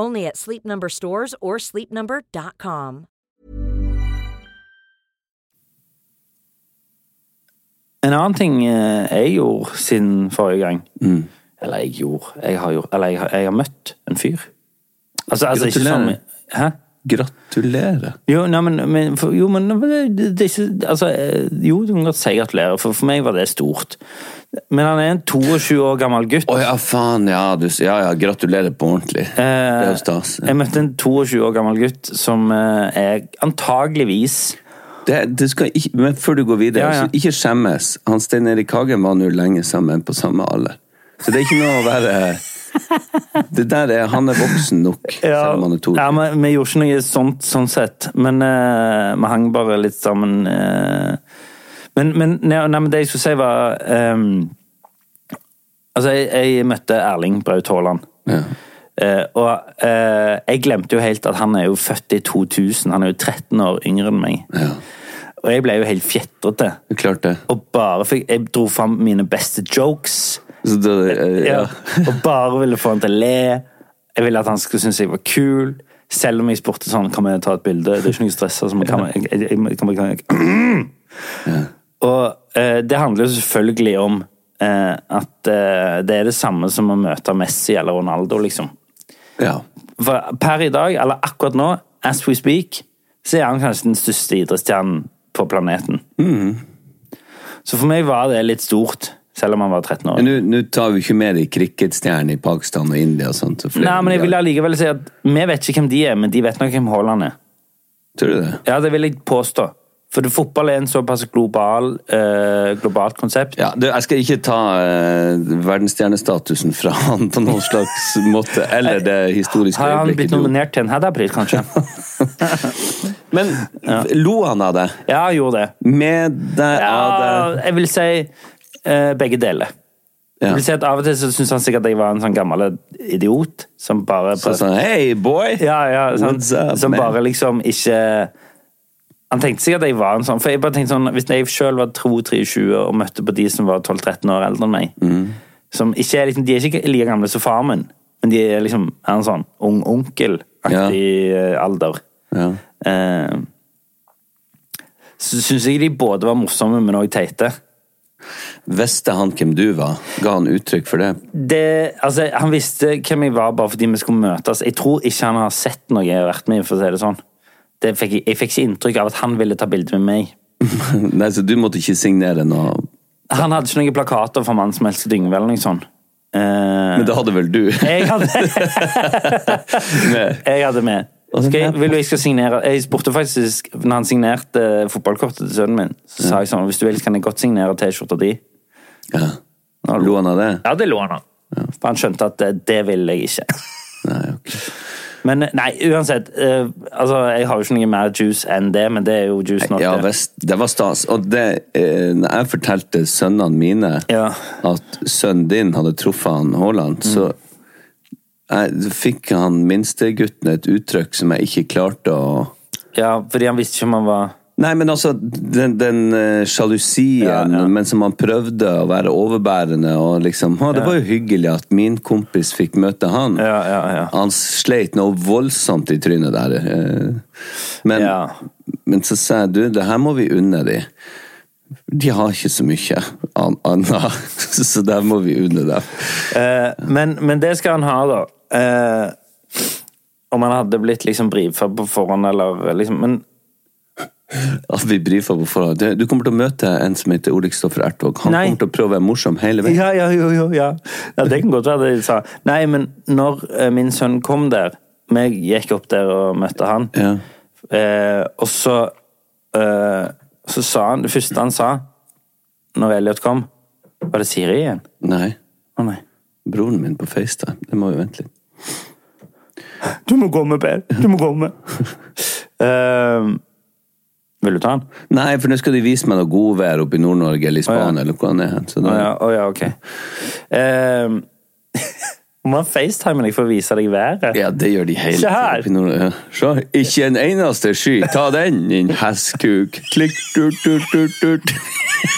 E: Only at Sleep Number stores or sleepnumber.com.
B: En annen ting eh, jeg gjorde siden forrige gang
C: Mm.
B: Eller jeg gjorde jeg har, gjort, Eller jeg har, jeg har møtt en fyr. Altså, altså ikke som
C: Gratulerer.
B: Hæ?
C: Gratulerer.
B: Jo, nei, men, men, for, jo, men det, det er ikke altså, eh, Jo, du kan godt si gratulerer, for for meg var det stort. Men han er en 22 år gammel gutt. Eh,
C: Å ja, faen, ja, du, s- ja, ja. Gratulerer på ordentlig. Det er jo stas.
B: Jeg møtte en 22 år gammel gutt som eh, er antageligvis
C: Det, det skal ikke, men før du går videre,
B: Ja, ja.
C: så ikke skjemmes. Han Stein Erik Hagen var nå lenge sammen på samme alder. Så det er ikke noe å være Det der er Han er voksen nok, selv om han er to.
B: Ja, men vi gjorde ikke noe sånt, sånn sett. Men eh, vi hang bare litt sammen. eh. men, men, nei, nei, men det jeg skulle si, var ehm, Altså, jeg, jeg møtte Erling Braut Haaland.
C: Ja.
B: Eh, og eh, jeg glemte jo helt at han er jo født i 2000. Han er jo 13 år yngre enn meg. Og jeg ble jo helt fjetrete.
C: Det er Klart det.
B: Og bare fikk Jeg dro fram mine beste jokes.
C: Så det eh, ja.
B: Ja. og bare ville få han til å le. Jeg ville at han skulle synes jeg var kul. Selv om jeg spurte sånn, kan vi ta et bilde? Det er ikke noe stress. Altså, men kan vi, jeg, jeg, jeg, kan vi, kan jeg. Og eh, det handler jo selvfølgelig om eh, at eh, det er det samme som å møte Messi eller Ronaldo, liksom.
C: ja.
B: For per i dag, eller akkurat nå, as we speak, så er han kanskje den største idrettsstjernen på planeten. Så for meg var det litt stort, selv om han var 13 år.
C: Men nå- nå tar vi ikke med de cricketstjernene i Pakistan og India og sånt. så flere-
B: Nei, men jeg vil allikevel si at vi vet ikke hvem de er, men de vet nok hvem Haaland er.
C: Tror du det?
B: Ja, det vil jeg påstå. For det- fotball er en såpass global, eh, globalt konsept.
C: Ja, du, jeg skal ikke ta eh, verdensstjernestatusen fra han på noen slags måte, eller det historiske
B: Har han blitt
C: øyeblikket. du-
B: nominert til en Hedda-pris, kanskje?
C: Men lo han av det?
B: Ja, han gjorde det.
C: Med deg av det?
B: Ja, jeg vil si eh, begge deler. Jeg
C: Ja.
B: vil si at Av og til så syns han sikkert at jeg var en sånn gammel idiot som bare
C: Så
B: prøvde
C: sånn, hei boy!
B: Ja, ja, sånn,
C: What's up,
B: som
C: man?»
B: bare liksom ikke Han tenkte sikkert at jeg var en sånn, for jeg bare tenkte sånn, hvis jeg sjøl var 22-23 og møtte på de som var 12-13 år eldre enn meg
C: Mm.
B: som ikke er, liksom, De er ikke like gamle som faren min, men de er liksom er en sånn ung onkel-aktig eh, alder.
C: Ja.
B: Eh, så syns jeg de både var morsomme, men òg teite.
C: Visste han hvem du var? Ga han uttrykk for det?
B: det, altså, han visste hvem jeg var bare fordi vi skulle møtes. Jeg tror ikke han har sett noe jeg har vært med i, for å si det sånn. Det fikk, jeg- jeg fikk ikke inntrykk av at han ville ta bilde med meg.
C: Nei, så du måtte ikke signere noe
B: Han hadde ikke noen plakater for mannen som helst Yngve eller noe sånt. Eh,
C: Men det hadde vel du?
B: jeg hadde,
C: Med-
B: jeg hadde med. Skal jeg, vil du jeg skal signere Jeg spurte faktisk når han signerte eh, fotballkortet til sønnen min, så sa jeg sånn Hvis du vil, kan jeg godt signere T-skjorta di.
C: ja. Lo han av det?
B: Ja, det lå han av. For han skjønte at eh, det, det ville jeg ikke.
C: Nei, ok.
B: Men nei, uansett. eh, altså, jeg har jo ikke noe mer juice enn det, men det er jo juice nok.
C: Ja
B: det.
C: visst, det var stas. Og det, eh, når jeg fortalte sønnene mine
B: Ja.
C: at sønnen din hadde truffet han Haaland, så jeg, fikk han minstegutten et uttrykk som jeg ikke klarte å
B: ja, fordi han visste ikke om han var
C: Nei, men altså, den, den eh, sjalusien, men som han prøvde å være overbærende og liksom «Å, Det var jo hyggelig at min kompis fikk møte han.
B: Ja, ja, ja.
C: Han sleit noe voldsomt i trynet der. eh. Men,
B: Ja.
C: men så sa jeg, du, det her må vi unne de. De har ikke så mye an- annet, så der må vi unne dem.
B: Eh, men, men det skal han ha, da. Eh, om han hadde blitt liksom brivfab på forhånd, eller liksom Men
C: at vi brifa på forhånd. Du- Du kommer til å møte en som heter Ole Kristoffer Ertvåg. Han
B: Nei.
C: kommer til å prøve å være morsom hele veien.
B: Ja, ja, jo, jo, ja. ja det kan godt være det de sa. Nei, men når eh, min sønn kom der Vi gikk opp der og møtte han.
C: Ja.
B: Eh, og så eh, Så sa han Det første han sa når Elliot kom, var det Siri igjen?
C: Nei.
B: Å nei.
C: Broren min på FaceTime. Det må jo vente litt.
B: Du må komme, Per. Du må komme. Eh, vil du ta den?
C: Nei, for nå skal de vise meg noe godvær oppe i Nord-Norge eller i Spania, eller hvor han er hen. Så
B: Å ja,
C: da,
B: å ja, ok. Um, må han facetime deg for å vise deg været?
C: ja, det gjør de hele
B: Se her!
C: oppe i Nord-Norge. Ja. Se, ikke en eneste sky. Ta den, din hestkuk. Klikk, tut, tut, tut, tut.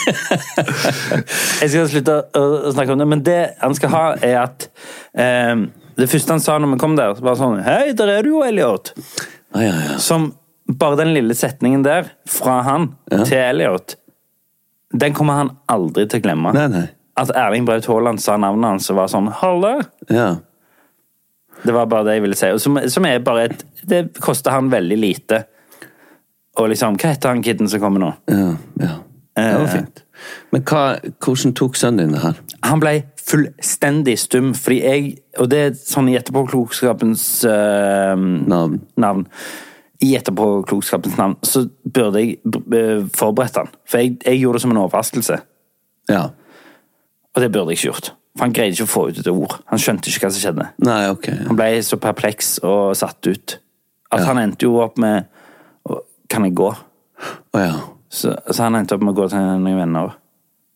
B: Jeg skal slutte å, å snakke om det, men det han skal ha, er at ehm, Det første han sa når vi kom der, så var sånn Hei, der er du jo, Elliot!
C: Ah, ja, ja.
B: Som bare den lille setningen der, fra han til Elliot, den kommer han aldri til å glemme.
C: Nei, nei.
B: At Erling Braut Haaland sa navnet hans og var sånn Halla!
C: Ja.
B: Det var bare det jeg ville si. Og som, som er bare et Det koster han veldig lite. Og liksom Hva heter han kiden som kommer nå?
C: Ja, ja. Det
B: Eh.
C: var fint. Men hva, hvordan tok sønnen din det her?
B: han ble fullstendig stum, fordi jeg Og det er sånn i etterpåklokskapens eh,
C: Navn.
B: navn. I etterpåklokskapens navn så burde jeg eh, forberedt han. For jeg, jeg gjorde det som en overraskelse,
C: Ja.
B: og det burde jeg ikke gjort. For han greide ikke å få ut et ord. Han skjønte ikke hva som skjedde.
C: Nei, ok. Ja.
B: Han ble så perpleks og satt ut at han endte jo opp med å, Kan jeg gå?
C: Å ja.
B: Så, så han endte opp med å gå til noen venner.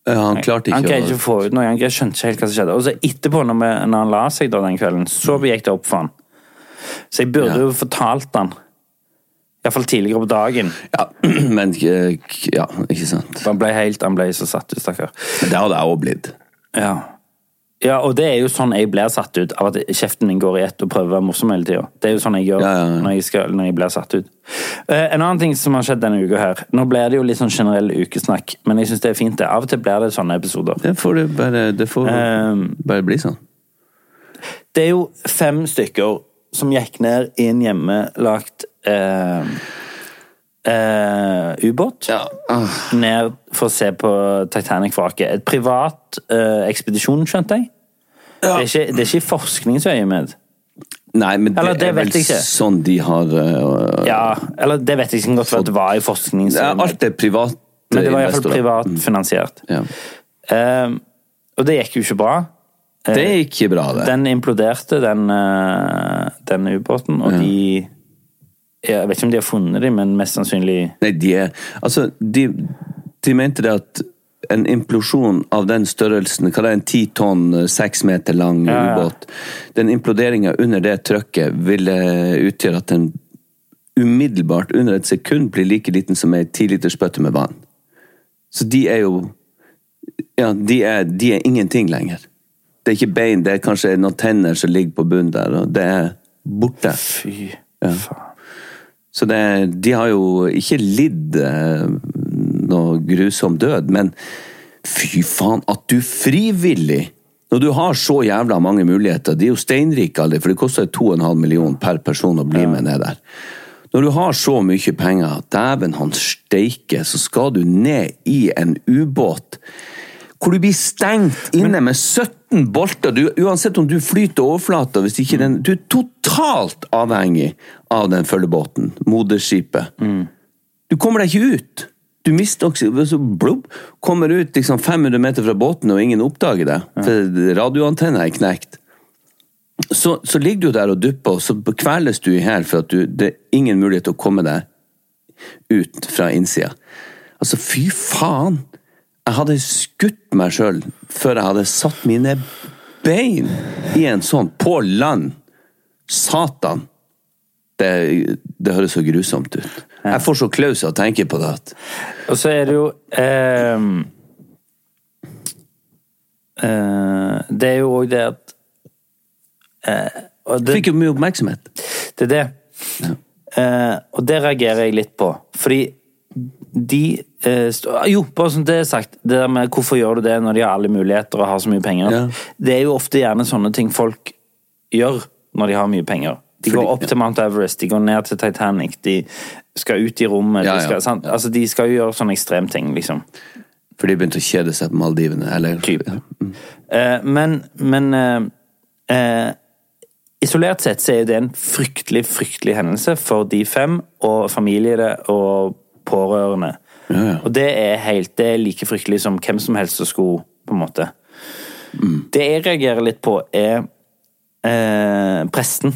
C: ja. Han klarte ikke
B: Han greide ikke å få ut noe. Han greide- skjønte ikke helt hva som skjedde. Og så etterpå, når, vi, når han la seg da den kvelden, så gikk det opp for han. Så jeg burde
C: Mm.
B: jo
C: Ja.
B: fortalt han. Iallfall tidligere på dagen.
C: Ja, men eh, k- Ja, ikke sant.
B: Han ble helt, han ble så satt ut, stakkar.
C: Men det hadde jeg òg blitt.
B: Ja. ja, og det er jo sånn jeg blir satt ut av at kjeften min går i ett og prøver å være morsom hele tida. Det er jo sånn jeg gjør
C: Ja, ja, ja.
B: Når, jeg skal, når jeg blir satt ut. Eh, en annen ting som har skjedd denne uka her Nå blir det jo litt sånn generell ukesnakk, men jeg syns det er fint. det. Av og til blir det sånne episoder.
C: Det får du bare Det får
B: Ehm.
C: bare bli sånn.
B: Det er jo fem stykker som gikk ned i en hjemmelagt eh, eh, ubåt. Ned for å se på Titanic-vraket. Et privat eh, ekspedisjon, skjønte jeg. Det, er ikke, det er ikke i forskningsøyemed.
C: Nei, men det,
B: Eller, det
C: er vel
B: vet jeg ikke.
C: sånn de har eh,
B: Ja, eller det vet jeg ikke godt for at det var i
C: ja,
B: forskningsøyemed.
C: Alt er privat.
B: Men det var iallfall
C: investorer. Mm.
B: privat finansiert.
C: Ja.
B: Eh, og det gikk jo ikke bra. Eh,
C: Det er ikke bra, det.
B: Den imploderte, den, eh, den ubåten, og de Jeg vet ikke om de har funnet dem, men mest sannsynlig
C: Nei, de er Altså, de, de mente det at en implosjon av den størrelsen, hva det er en ti tonn, eh, seks meter lang
B: Ja, ja.
C: ubåt Den imploderinga under det trykket ville utgjøre at den umiddelbart, under et sekund, blir like liten som ei tilitersbøtte med vann. Så de er jo Ja, de er, de er ingenting lenger. Det er ikke bein, det er kanskje noen tenner som ligger på bunnen der, og det er borte.
B: Fy faen.
C: Så det, de har jo ikke lidd eh, noe grusom død, men fy faen at du frivillig Når du har så jævla mange muligheter De er jo steinrike alle, for det koster 2,5 millioner per person å bli med ned der. Når du har så mye penger, dæven han steike, så skal du ned i en ubåt hvor du blir stengt inne med 17 bolter. Du, uansett om du flyter overflata, hvis ikke den Du er totalt avhengig av den følgebåten, moderskipet. Du kommer deg ikke ut! Du mister oksygen, så blubb, kommer ut liksom 500 meter fra båten, og ingen oppdager deg. For radioantenna er knekt. Så, så ligger du der og dupper, og så kveles du i hæl for at du, det er ingen mulighet til å komme deg ut fra innsida. Altså, fy faen! Jeg hadde skutt meg sjøl før jeg hadde satt mine bein i en sånn på land. Satan! Det, det høres så grusomt ut. Jeg får så klaus av å tenke på det. at
B: Og så er det jo ehm, eh, Det er jo òg det at eh, og det,
C: Jeg fikk jo mye oppmerksomhet.
B: Det er det. Eh, og det reagerer jeg litt på. Fordi de eh, stå- ah, Jo, bare som det er sagt, det der med hvorfor gjør du det når de har alle muligheter og har så mye penger.
C: Ja.
B: Det er jo ofte gjerne sånne ting folk gjør når de har mye penger. De går opp til Mount Everest, de går ned til Titanic, de skal ut i rommet.
C: Ja, ja.
B: De, skal, sant? Altså, de skal jo gjøre sånne ekstremting, liksom.
C: For de begynte å kjede seg på Maldivene, eller
B: Typ. Eh, men men eh, eh, isolert sett så er jo det en fryktelig, fryktelig hendelse for de fem og familiene og pårørende. Og det er helt, det er like fryktelig som hvem som helst som skulle, på en måte. Det jeg reagerer litt på, er eh, presten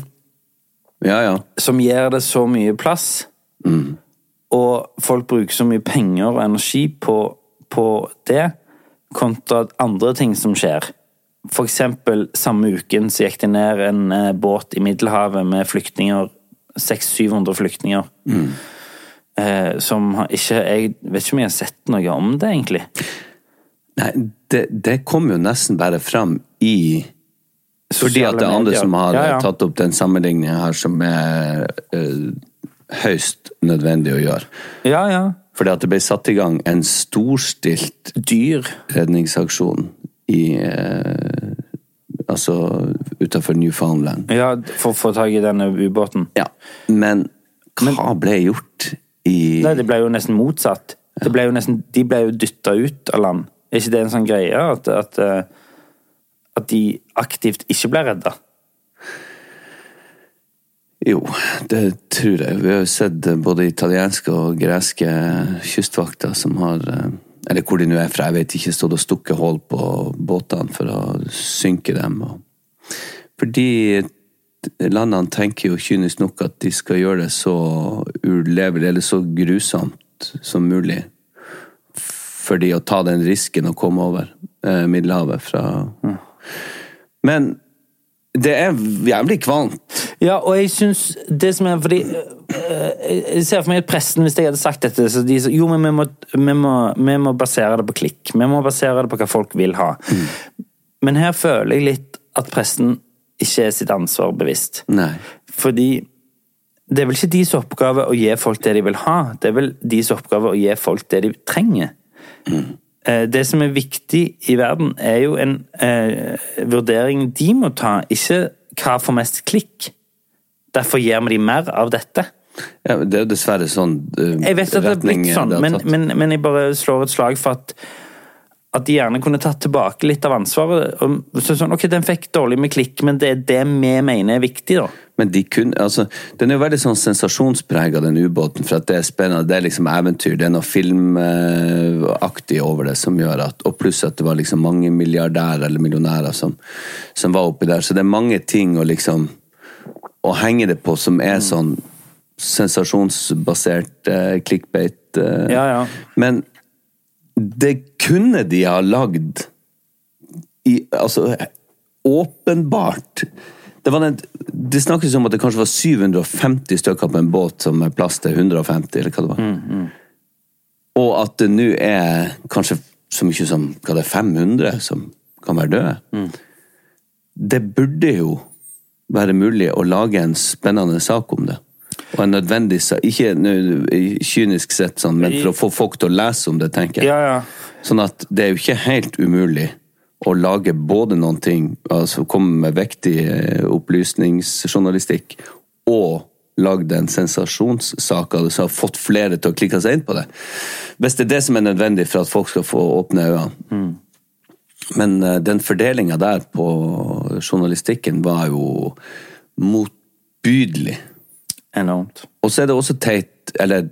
C: Ja, ja.
B: som gir det så mye plass, og folk bruker så mye penger og energi på, på det, kontra andre ting som skjer. For eksempel samme uken så gikk det ned en eh, båt i Middelhavet med flyktninger, 600-700 flyktninger. Eh, som har ikke Jeg vet ikke om jeg har sett noe om det, egentlig.
C: Nei, det, det kom jo nesten bare fram i Fordi
B: Sosiale
C: at det er andre
B: medier.
C: som har
B: Ja, ja.
C: eh, tatt opp den sammenligningen her, som er eh, høyst nødvendig å gjøre.
B: Ja, ja.
C: Fordi at det ble satt i gang en storstilt
B: Dyr.
C: redningsaksjon i eh, Altså utafor Newfoundland.
B: Ja, for å få tak i denne ubåten.
C: Ja. Men hva ble gjort i
B: Nei, det ble jo nesten motsatt. Det ble jo nesten, de ble jo dytta ut av land. Er ikke det en sånn greie at, at, eh, at de aktivt ikke ble redda?
C: Jo, det tror jeg. Vi har jo sett eh, både italienske og greske kystvakter som har eh, Eller hvor de nå er fra, jeg vet ikke. Stått og stukket hull på båtene for å synke dem. og- Fordi landene tenker jo kynisk nok at de skal gjøre det så ulevelig, eller så grusomt som mulig. For de å ta den risken å komme over eh, Middelhavet fra Men det er jævlig kvalmt.
B: Ja, og jeg syns det som er fordi eh, Jeg ser for meg at presten, hvis jeg hadde sagt dette så de, sa, Jo, men vi må, vi, må, vi må basere det på klikk. Vi må basere det på hva folk vil ha. Men her føler jeg litt at presten ikke er sitt ansvar bevisst.
C: Nei.
B: Fordi det er vel ikke deres oppgave å gi folk det de vil ha, det er vel deres oppgave å gi folk det de trenger. Eh, Det som er viktig i verden, er jo en eh, vurdering de må ta, ikke hva får mest klikk. Derfor gir vi de mer av dette.
C: Ja, men det er jo dessverre sånn eh,
B: Jeg vet at det er blitt
C: retning, eh,
B: sånn,
C: det har
B: men,
C: tatt.
B: men, men jeg bare slår et slag for at at de gjerne kunne tatt tilbake litt av ansvaret. og Så sånn, ok, Den fikk dårlig med klikk, men det er det vi mener er viktig, da.
C: Men de kunne, altså, den er jo veldig sånn sensasjonsprega, den ubåten, for at det er spennende. Det er liksom eventyr. Det er noe filmaktig over det som gjør at Og pluss at det var liksom mange milliardærer eller millionærer som, som var oppi der. Så det er mange ting å liksom Å henge det på som
B: Mm.
C: er sånn sensasjonsbasert eh, clickbait. Eh,
B: Ja, ja.
C: Men det kunne de ha lagd i, altså, åpenbart det, var den, det snakkes om at det kanskje var 750 stykker på en båt som er plass til 150, eller hva det var. Og at det nå er kanskje så mye som hva det er, 500 som kan være døde. Det burde jo være mulig å lage en spennende sak om det. Og en nødvendig sak. Ikke nå, kynisk sett, sånn, men for å få folk til å lese om det, tenker jeg.
B: Ja, ja.
C: Sånn at det er jo ikke helt umulig å lage både noen ting, altså komme med vektig eh, opplysningsjournalistikk, og lagd en sensasjonssak av det som har fått flere til å klikke seg inn på det. Hvis det er det som er nødvendig for at folk skal få åpne øynene. Men eh, den fordelinga der på journalistikken var jo motbydelig.
B: Enormt.
C: Og så er det også teit, eller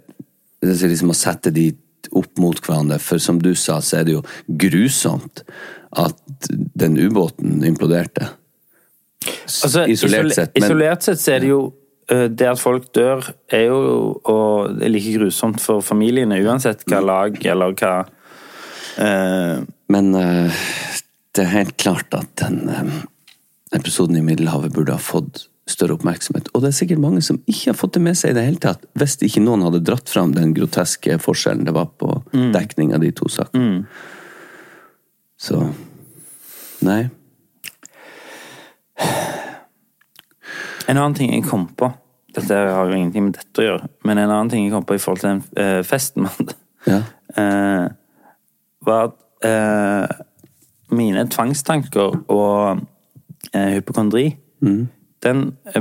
C: det er liksom å sette de opp mot hverandre, for som du sa, så er det jo grusomt at den ubåten imploderte. S-
B: Altså,
C: isolert
B: isole-
C: sett. Men,
B: Isolert sett så er det jo eh, det at folk dør, er jo og det er like grusomt for familiene, uansett
C: Mm.
B: hva lag eller hva eh,
C: men eh, det er helt klart at den eh, episoden i Middelhavet burde ha fått større oppmerksomhet. Og det er sikkert mange som ikke har fått det med seg i det hele tatt, hvis ikke noen hadde dratt fram den groteske forskjellen det var på dekning av de to sakene. Så Nei.
B: En annen ting jeg kom på Dette har jo ingenting med dette å gjøre, men en annen ting jeg kom på i forhold til den eh, festen man hadde,
C: Ja.
B: eh, var at eh, mine tvangstanker og eh, hypokondri den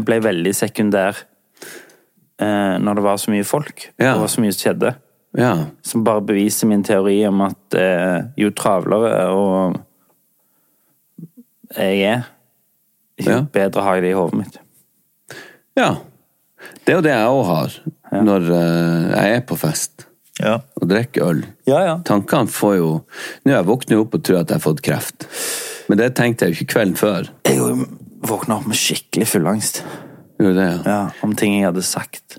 B: ble veldig sekundær eh, når det var så mye folk,
C: Ja.
B: og det var så mye som skjedde.
C: Ja.
B: Som bare beviser min teori om at eh, jo travlere og jeg er, jo
C: Ja.
B: bedre har jeg det i hodet mitt.
C: ja. Det er jo det jeg òg har når eh, jeg er på fest
I: Ja.
C: og drikker øl.
B: Ja, ja.
C: Tankene får jo Nå jeg våkner jo opp og tror at jeg har fått kreft. Men det tenkte jeg jo ikke kvelden før.
B: Jeg våkna opp med skikkelig fullangst
C: Gjorde det, ja.
B: ja, om ting jeg hadde sagt.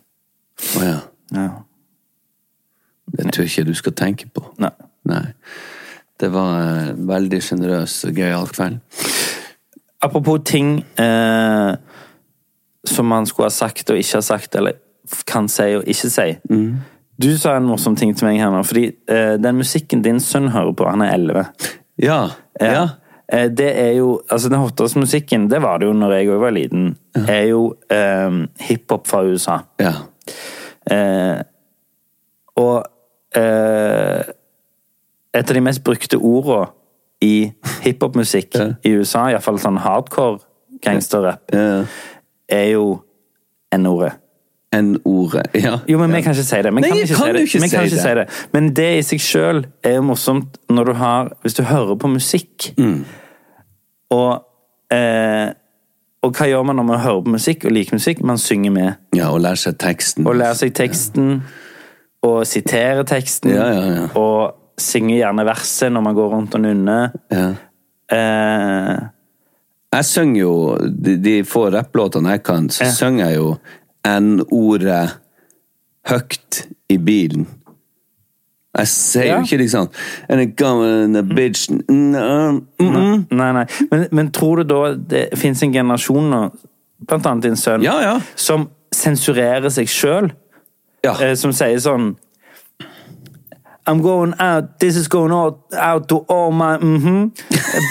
C: Å, ja.
B: Ja.
C: Det tror jeg ikke du skal tenke på.
B: Nei.
C: Nei. Det var en veldig sjenerøs og gøyal kveld.
B: Apropos ting eh, som man skulle ha sagt og ikke ha sagt, eller f- kan si og ikke si. Du sa en morsom ting til meg her nå, fordi eh, den musikken din sønn hører på, han er 11.
C: Ja. ja.
B: Eh, det er jo Altså, den hotteste musikken, det var det jo når jeg òg var liten, er jo eh, hiphop fra USA.
C: Ja.
B: Eh, og eh, et av de mest brukte orda i hiphopmusikk
C: Ja.
B: i USA, iallfall sånn hardcore gangsterrap,
C: Ja.
B: er jo N-ordet.
C: N-ordet. Ja.
B: Jo, men vi kan ikke si det. Vi
C: Nei,
B: kan
C: jeg
B: ikke
C: kan
B: si det.
C: jo ikke
B: Vi kan
C: si
B: ikke si det. Men det i seg sjøl er jo morsomt når du har Hvis du hører på musikk,
C: Mm.
B: og eh, og hva gjør man når man hører på musikk og liker musikk? Man synger med.
C: ja, og lære seg teksten.
B: Og lærer seg teksten, og siterer teksten,
C: Ja, ja, ja.
B: og synger gjerne verset når man går rundt og nunner.
C: Ja.
B: Eh,
C: Jeg synger jo de, de få rapplåtene jeg kan, så
B: Ja.
C: synger jeg jo N-ordet høyt i bilen. Jeg sier
B: Ja.
C: jo ikke liksom And it come in a bitch mm, mm, mm.
B: nei, nei. Men, men tror du da det fins en generasjon nå, blant annet din sønn,
C: Ja, ja.
B: som sensurerer seg sjøl?
C: Ja.
B: eh, som sier sånn I'm going out, this is going out, out to all my mhm,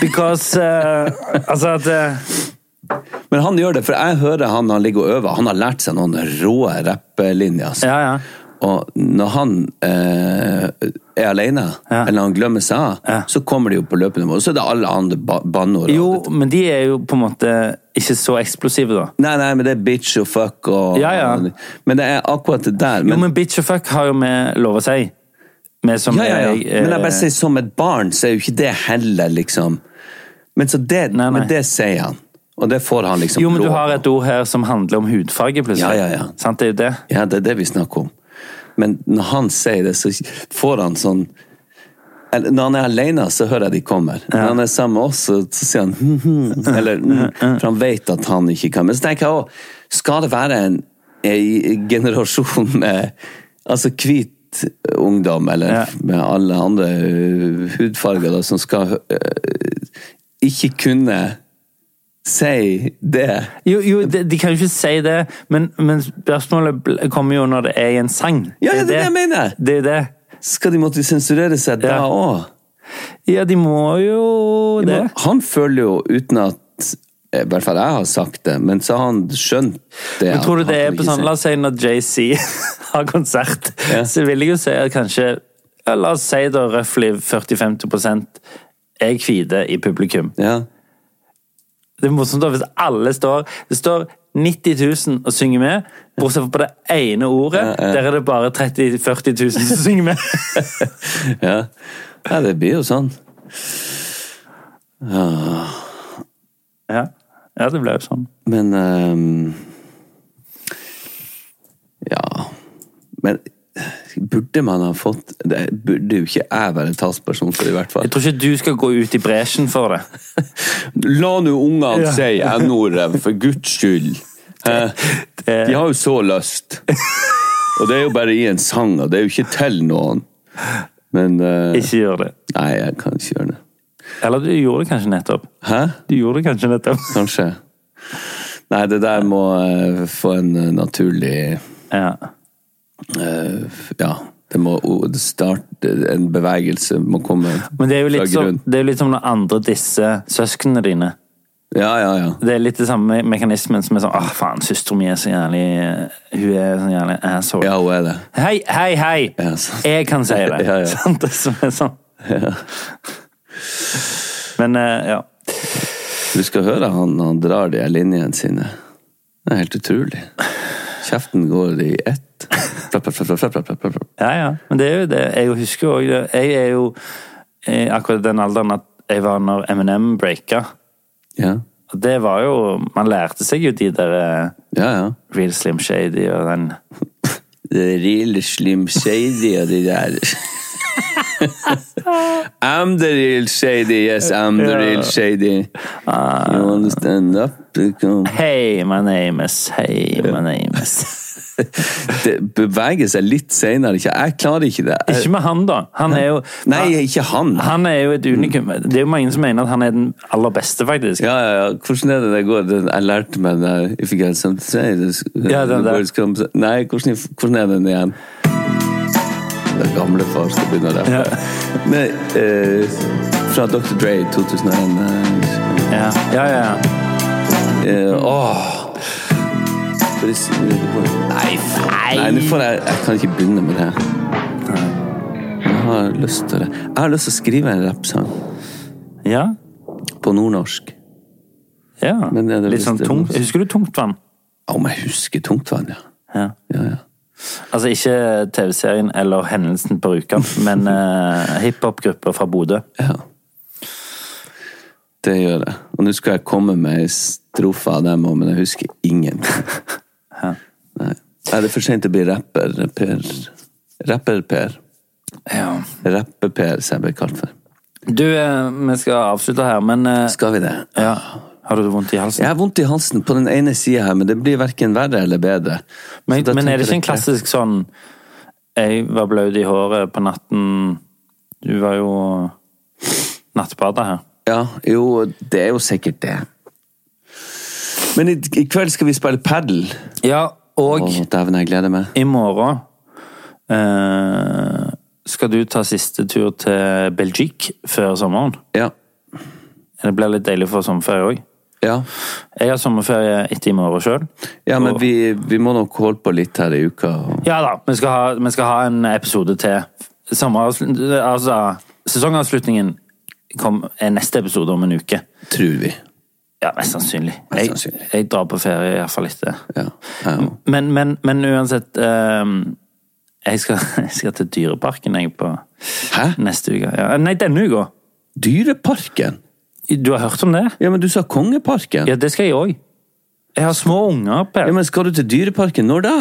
B: Because eh, Altså at eh,
C: Men han gjør det, for jeg hører han han ligger og øver. Han har lært seg noen rå rapplinjer. altså.
B: Ja, ja.
C: Og når han eh, er alene,
B: Ja.
C: eller han glemmer seg av,
B: Ja.
C: så kommer de jo på løpende mål. Og så er det alle andre ba banneord. og
B: Jo,
C: dette.
B: men de er jo på en måte ikke så eksplosive, da.
C: Nei, nei, men det er bitch og fuck og
B: Ja, ja.
C: Men det er akkurat det der.
B: Jo,
C: Men,
B: men bitch og fuck har jo vi lov å si. Vi som
C: ja, ja, ja.
B: er- eh,
C: men jeg bare sier som et barn, så er jo ikke det heller, liksom. Men så det,
B: Nei, nei.
C: Men det sier han. Og det får han liksom
B: Jo, men du
C: lov
B: har
C: av.
B: et ord her som handler om hudfarge, plutselig.
C: Ja, ja, ja.
B: Sant, det er jo det.
C: Ja, det er det vi snakker om. Men når han sier det, så får han sånn eller, Når han er alene, så hører jeg de kommer. Når han er sammen med oss, så, så sier han hm, hm, eller, hm, For han vet at han ikke kan. Men så tenker jeg òg Skal det være en, en generasjon med altså hvit ungdom, eller
B: Ja.
C: med alle andre uh, hudfarger, da, som skal uh, ikke kunne si det?
B: Jo, jo de, de kan jo ikke si det, men, men spørsmålet bl- kommer jo når det er i en sang.
C: Ja, ja, det er det jeg mener.
B: Det er det.
C: Skal de måtte sensurere seg da
B: Ja.
C: òg?
B: Ja, de må jo det.
C: Men Han føler jo, uten at i hvert fall jeg har sagt det, men så har han skjønt det.
B: Men tror du
C: han-
B: det
C: han
B: er
C: kan
B: på
C: ikke
B: sånn
C: si.
B: La oss si når JC har konsert,
C: Ja.
B: så vil jeg jo si at kanskje ja, La oss si da røftlig 40-50 er hvite i publikum.
C: Ja.
B: Det er morsomt da hvis alle står Det står 90 000 og synger med, bortsett fra på det ene ordet. Der er det bare 30 000-40 000 som synger med.
C: ja. ja, det blir jo sånn.
B: ja. ja, det ble jo sånn.
C: Men ehm, Ja. Men burde man ha fått Det burde jo ikke jeg være talsperson for, i hvert fall.
B: Jeg tror ikke du skal gå ut i bresjen for det.
C: La nå ungene
B: Ja.
C: si N-ordet, for guds skyld. Hæ? De har jo så lyst. Og det er jo bare i en sang, og det er jo ikke til noen. Men eh,
B: Ikke gjør det.
C: Nei, jeg kan ikke gjøre det.
B: Eller du gjorde det kanskje nettopp.
C: Hæ?
B: Du gjorde det kanskje nettopp.
C: Kanskje. Nei, det der må eh, få en eh, naturlig
B: Ja.
C: eh, f- Ja. Det må o- det starte En bevegelse må komme
B: Men det er jo litt,
C: fra
B: som,
C: grunn.
B: det er jo litt som når andre disser søsknene dine.
C: Ja, ja, ja.
B: Det er litt det samme mekanismen som er sånn Åh, faen, søsteren min er så jævlig eh, Hun er så jævlig asshole.
C: Ja, hun er det.
B: Hei, hei, hei!
C: Ja, altså. sant.
B: Jeg kan si det.
C: Ja, ja.
B: Sant? Det som er sånn. Men eh, ja. eh,
C: Du skal høre han, han drar de her linjene sine. Det er helt utrolig. Kjeften går i ett. Plapp, plapp, plapp, plapp, plapp, plapp, plapp.
D: Ja, ja. Men det er jo det. Jeg husker jo også det. Jeg er jo i akkurat den alderen at jeg var når Eminem breaka.
C: Ja.
D: Og det var jo Man lærte seg jo de der eh,
C: Ja, ja.
D: Real Slim Shady og den
C: Det er real slim shady og de der. I'm the real shady, yes, I'm the real shady. You want to stand up? Come.
D: Hey, my name is Hey, my name is
C: Det beveger seg litt senere. Ikke- Jeg klarer ikke det. Jeg-
D: Ikke med han, da. Han er jo
C: Nei, ikke han.
D: Han er jo et unikum. Det er jo mange som mener at han er den aller beste, faktisk.
C: Ja, ja, ja. Hvordan er det det går? Den- Jeg lærte meg den der If you got something to say this,
D: Ja, den
C: the
D: der.
C: words come- Nei, hvordan, hvordan er den igjen? Det er gamle far som begynner å rappe.
D: Ja.
C: Nei, eh, fra Dr. Dre 2001. eh,
D: Ja, ja, ja.
C: eh, åh. For det- Nei, faen. Nei, nå får jeg, jeg kan ikke begynne med det. Nei. Jeg har lyst til det. Jeg har lyst til å skrive en rappsang
D: ja.
C: på nordnorsk.
D: ja.
C: Men er det
D: Litt sånn
C: visst-
D: tungt. Husker du Tungtvann?
C: Om jeg husker tungtvann, ja.
D: Ja.
C: ja, ja.
D: Altså ikke TV-serien eller hendelsen på Rjukan, men uh, hiphop-grupper fra Bodø.
C: Ja. Det gjør jeg. Og nå skal jeg komme med ei strofe av dem òg, men jeg husker ingen. Nei. Er det for seint å bli rapper, Per? Rapper-Per.
D: Ja.
C: Rapper-Per, som jeg ble kalt for.
D: Du, eh, vi skal avslutte her, men eh,
C: Skal vi det?
D: ja. Har du vondt i halsen?
C: Jeg har vondt i halsen på den ene sida her, men det blir verken verre eller bedre. Så
D: Men,
C: da
D: men
C: tenker
D: er det ikke en
C: jeg-
D: klassisk sånn Jeg var blaut i håret på natten Du var jo nattbader her.
C: Ja, jo, det er jo sikkert det. Men i, i kveld skal vi spille padel.
D: Ja, og
C: Å, dæven, jeg gleder meg.
D: i morgen eh, skal du ta siste tur til Belgique før sommeren.
C: Ja.
D: Det blir litt deilig for sommerferie òg.
C: ja.
D: Jeg har sommerferie etter i morgen sjøl.
C: Ja, men vi, vi må nok holde på litt her i uka.
D: Ja da, vi skal ha, vi skal ha en episode til. Sommeravslut- Altså, sesongavslutningen kom, er neste episode om en uke.
C: Tror vi.
D: Ja, mest sannsynlig.
C: Mest sannsynlig.
D: Jeg, jeg drar på ferie iallfall etter.
C: Ja, jeg òg.
D: Men, men, men uansett ehm, jeg, skal, jeg skal til Dyreparken jeg på
C: Hæ?
D: neste uke. Ja, nei, denne uka!
C: Dyreparken?
D: Du har hørt om det?
C: Ja, men du sa Kongeparken?
D: Ja,
C: Ja,
D: det skal jeg òg. Jeg har små unger Per,
C: men skal du til Dyreparken når da?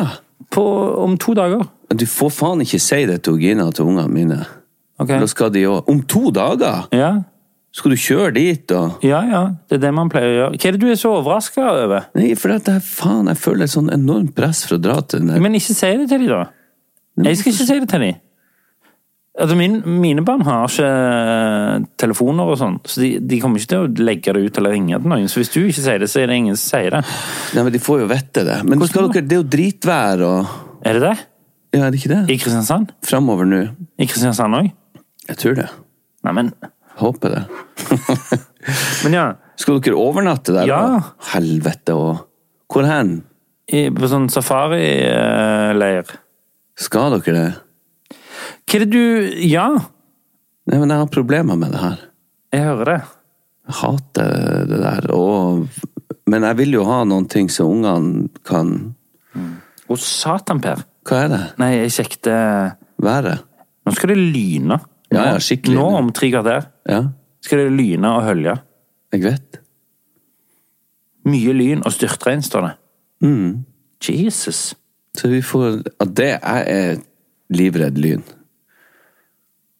D: på, om to dager.
C: Du får faen ikke si det til Gina og til ungene mine.
D: Ok.
C: Da skal de òg Om to dager!
D: Ja,
C: Skal du kjøre dit og
D: ja, ja. Det er det man pleier å gjøre. Hva er det du er så overraska over?
C: Nei, for at jeg, faen, jeg føler et sånn enormt press for å dra til den der
D: Men ikke si det til dem, da. Jeg skal ikke si det til dem. Altså, min, mine barn har ikke eh, telefoner og sånn, så de, de kommer ikke til å legge det ut eller ringe til noen. Så hvis du ikke sier det, så er det ingen som sier det.
C: Nei, men de får jo vite det. Men skal dere, det er jo dritvær og
D: Er det det?
C: Ja, er det ikke
D: I
C: det?
D: Kristiansand?
C: Framover nå.
D: I Kristiansand òg?
C: Jeg tror det.
D: Neimen
C: Håper det.
D: Men ja,
C: Skal dere overnatte der?
D: Ja.
C: da? Helvete og Hvor hen?
D: i, på sånn eh, safarileir
C: Skal dere det?
D: Hva er det du Ja,
C: Nei, men jeg har problemer med det her.
D: jeg hører det.
C: Jeg hater det der. Og, men jeg vil jo ha noen ting så ungene kan
D: Å, satan, Per.
C: Hva er det?
D: Nei, jeg sjekket eh,
C: Være?
D: Nå skal det lyne.
C: Ja, ja, skikkelig.
D: Nå om tre kvarter
C: Ja,
D: skal det lyne og hølje.
C: jeg vet.
D: Mye lyn og styrtregn, står det. Mm. Jesus.
C: Så vi får At det Jeg er livredd lyn.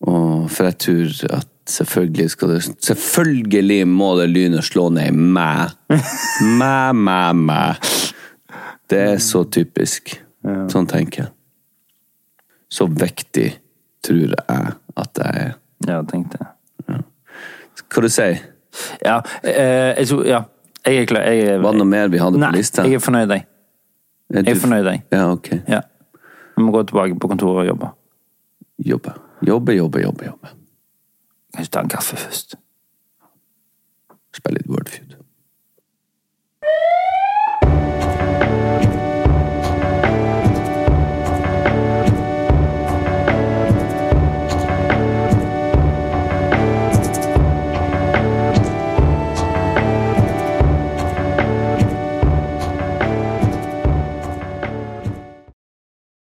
C: Og for jeg tror at selvfølgelig skal det Selvfølgelig må det lynet slå ned i meg. Mæ, mæ, mæ. Det
D: Mm.
C: er så typisk. Sånn tenker jeg. Så viktig tror jeg at jeg er.
D: Ja, tenkte jeg.
C: Hva du sier
D: Ja, eh, jeg tror Ja, jeg er klar. Jeg er,
C: Var det noe mer vi hadde
D: Nei,
C: på lista?
D: jeg er fornøyd, jeg.
C: Er
D: Jeg
C: du-
D: er fornøyd, jeg.
C: Ja, ok.
D: Ja. Vi må gå tilbake på kontoret og jobbe.
C: Jobbe. Jobbe, jobbe, jobbe. jobbe.
D: Kan ikke ta en kaffe først.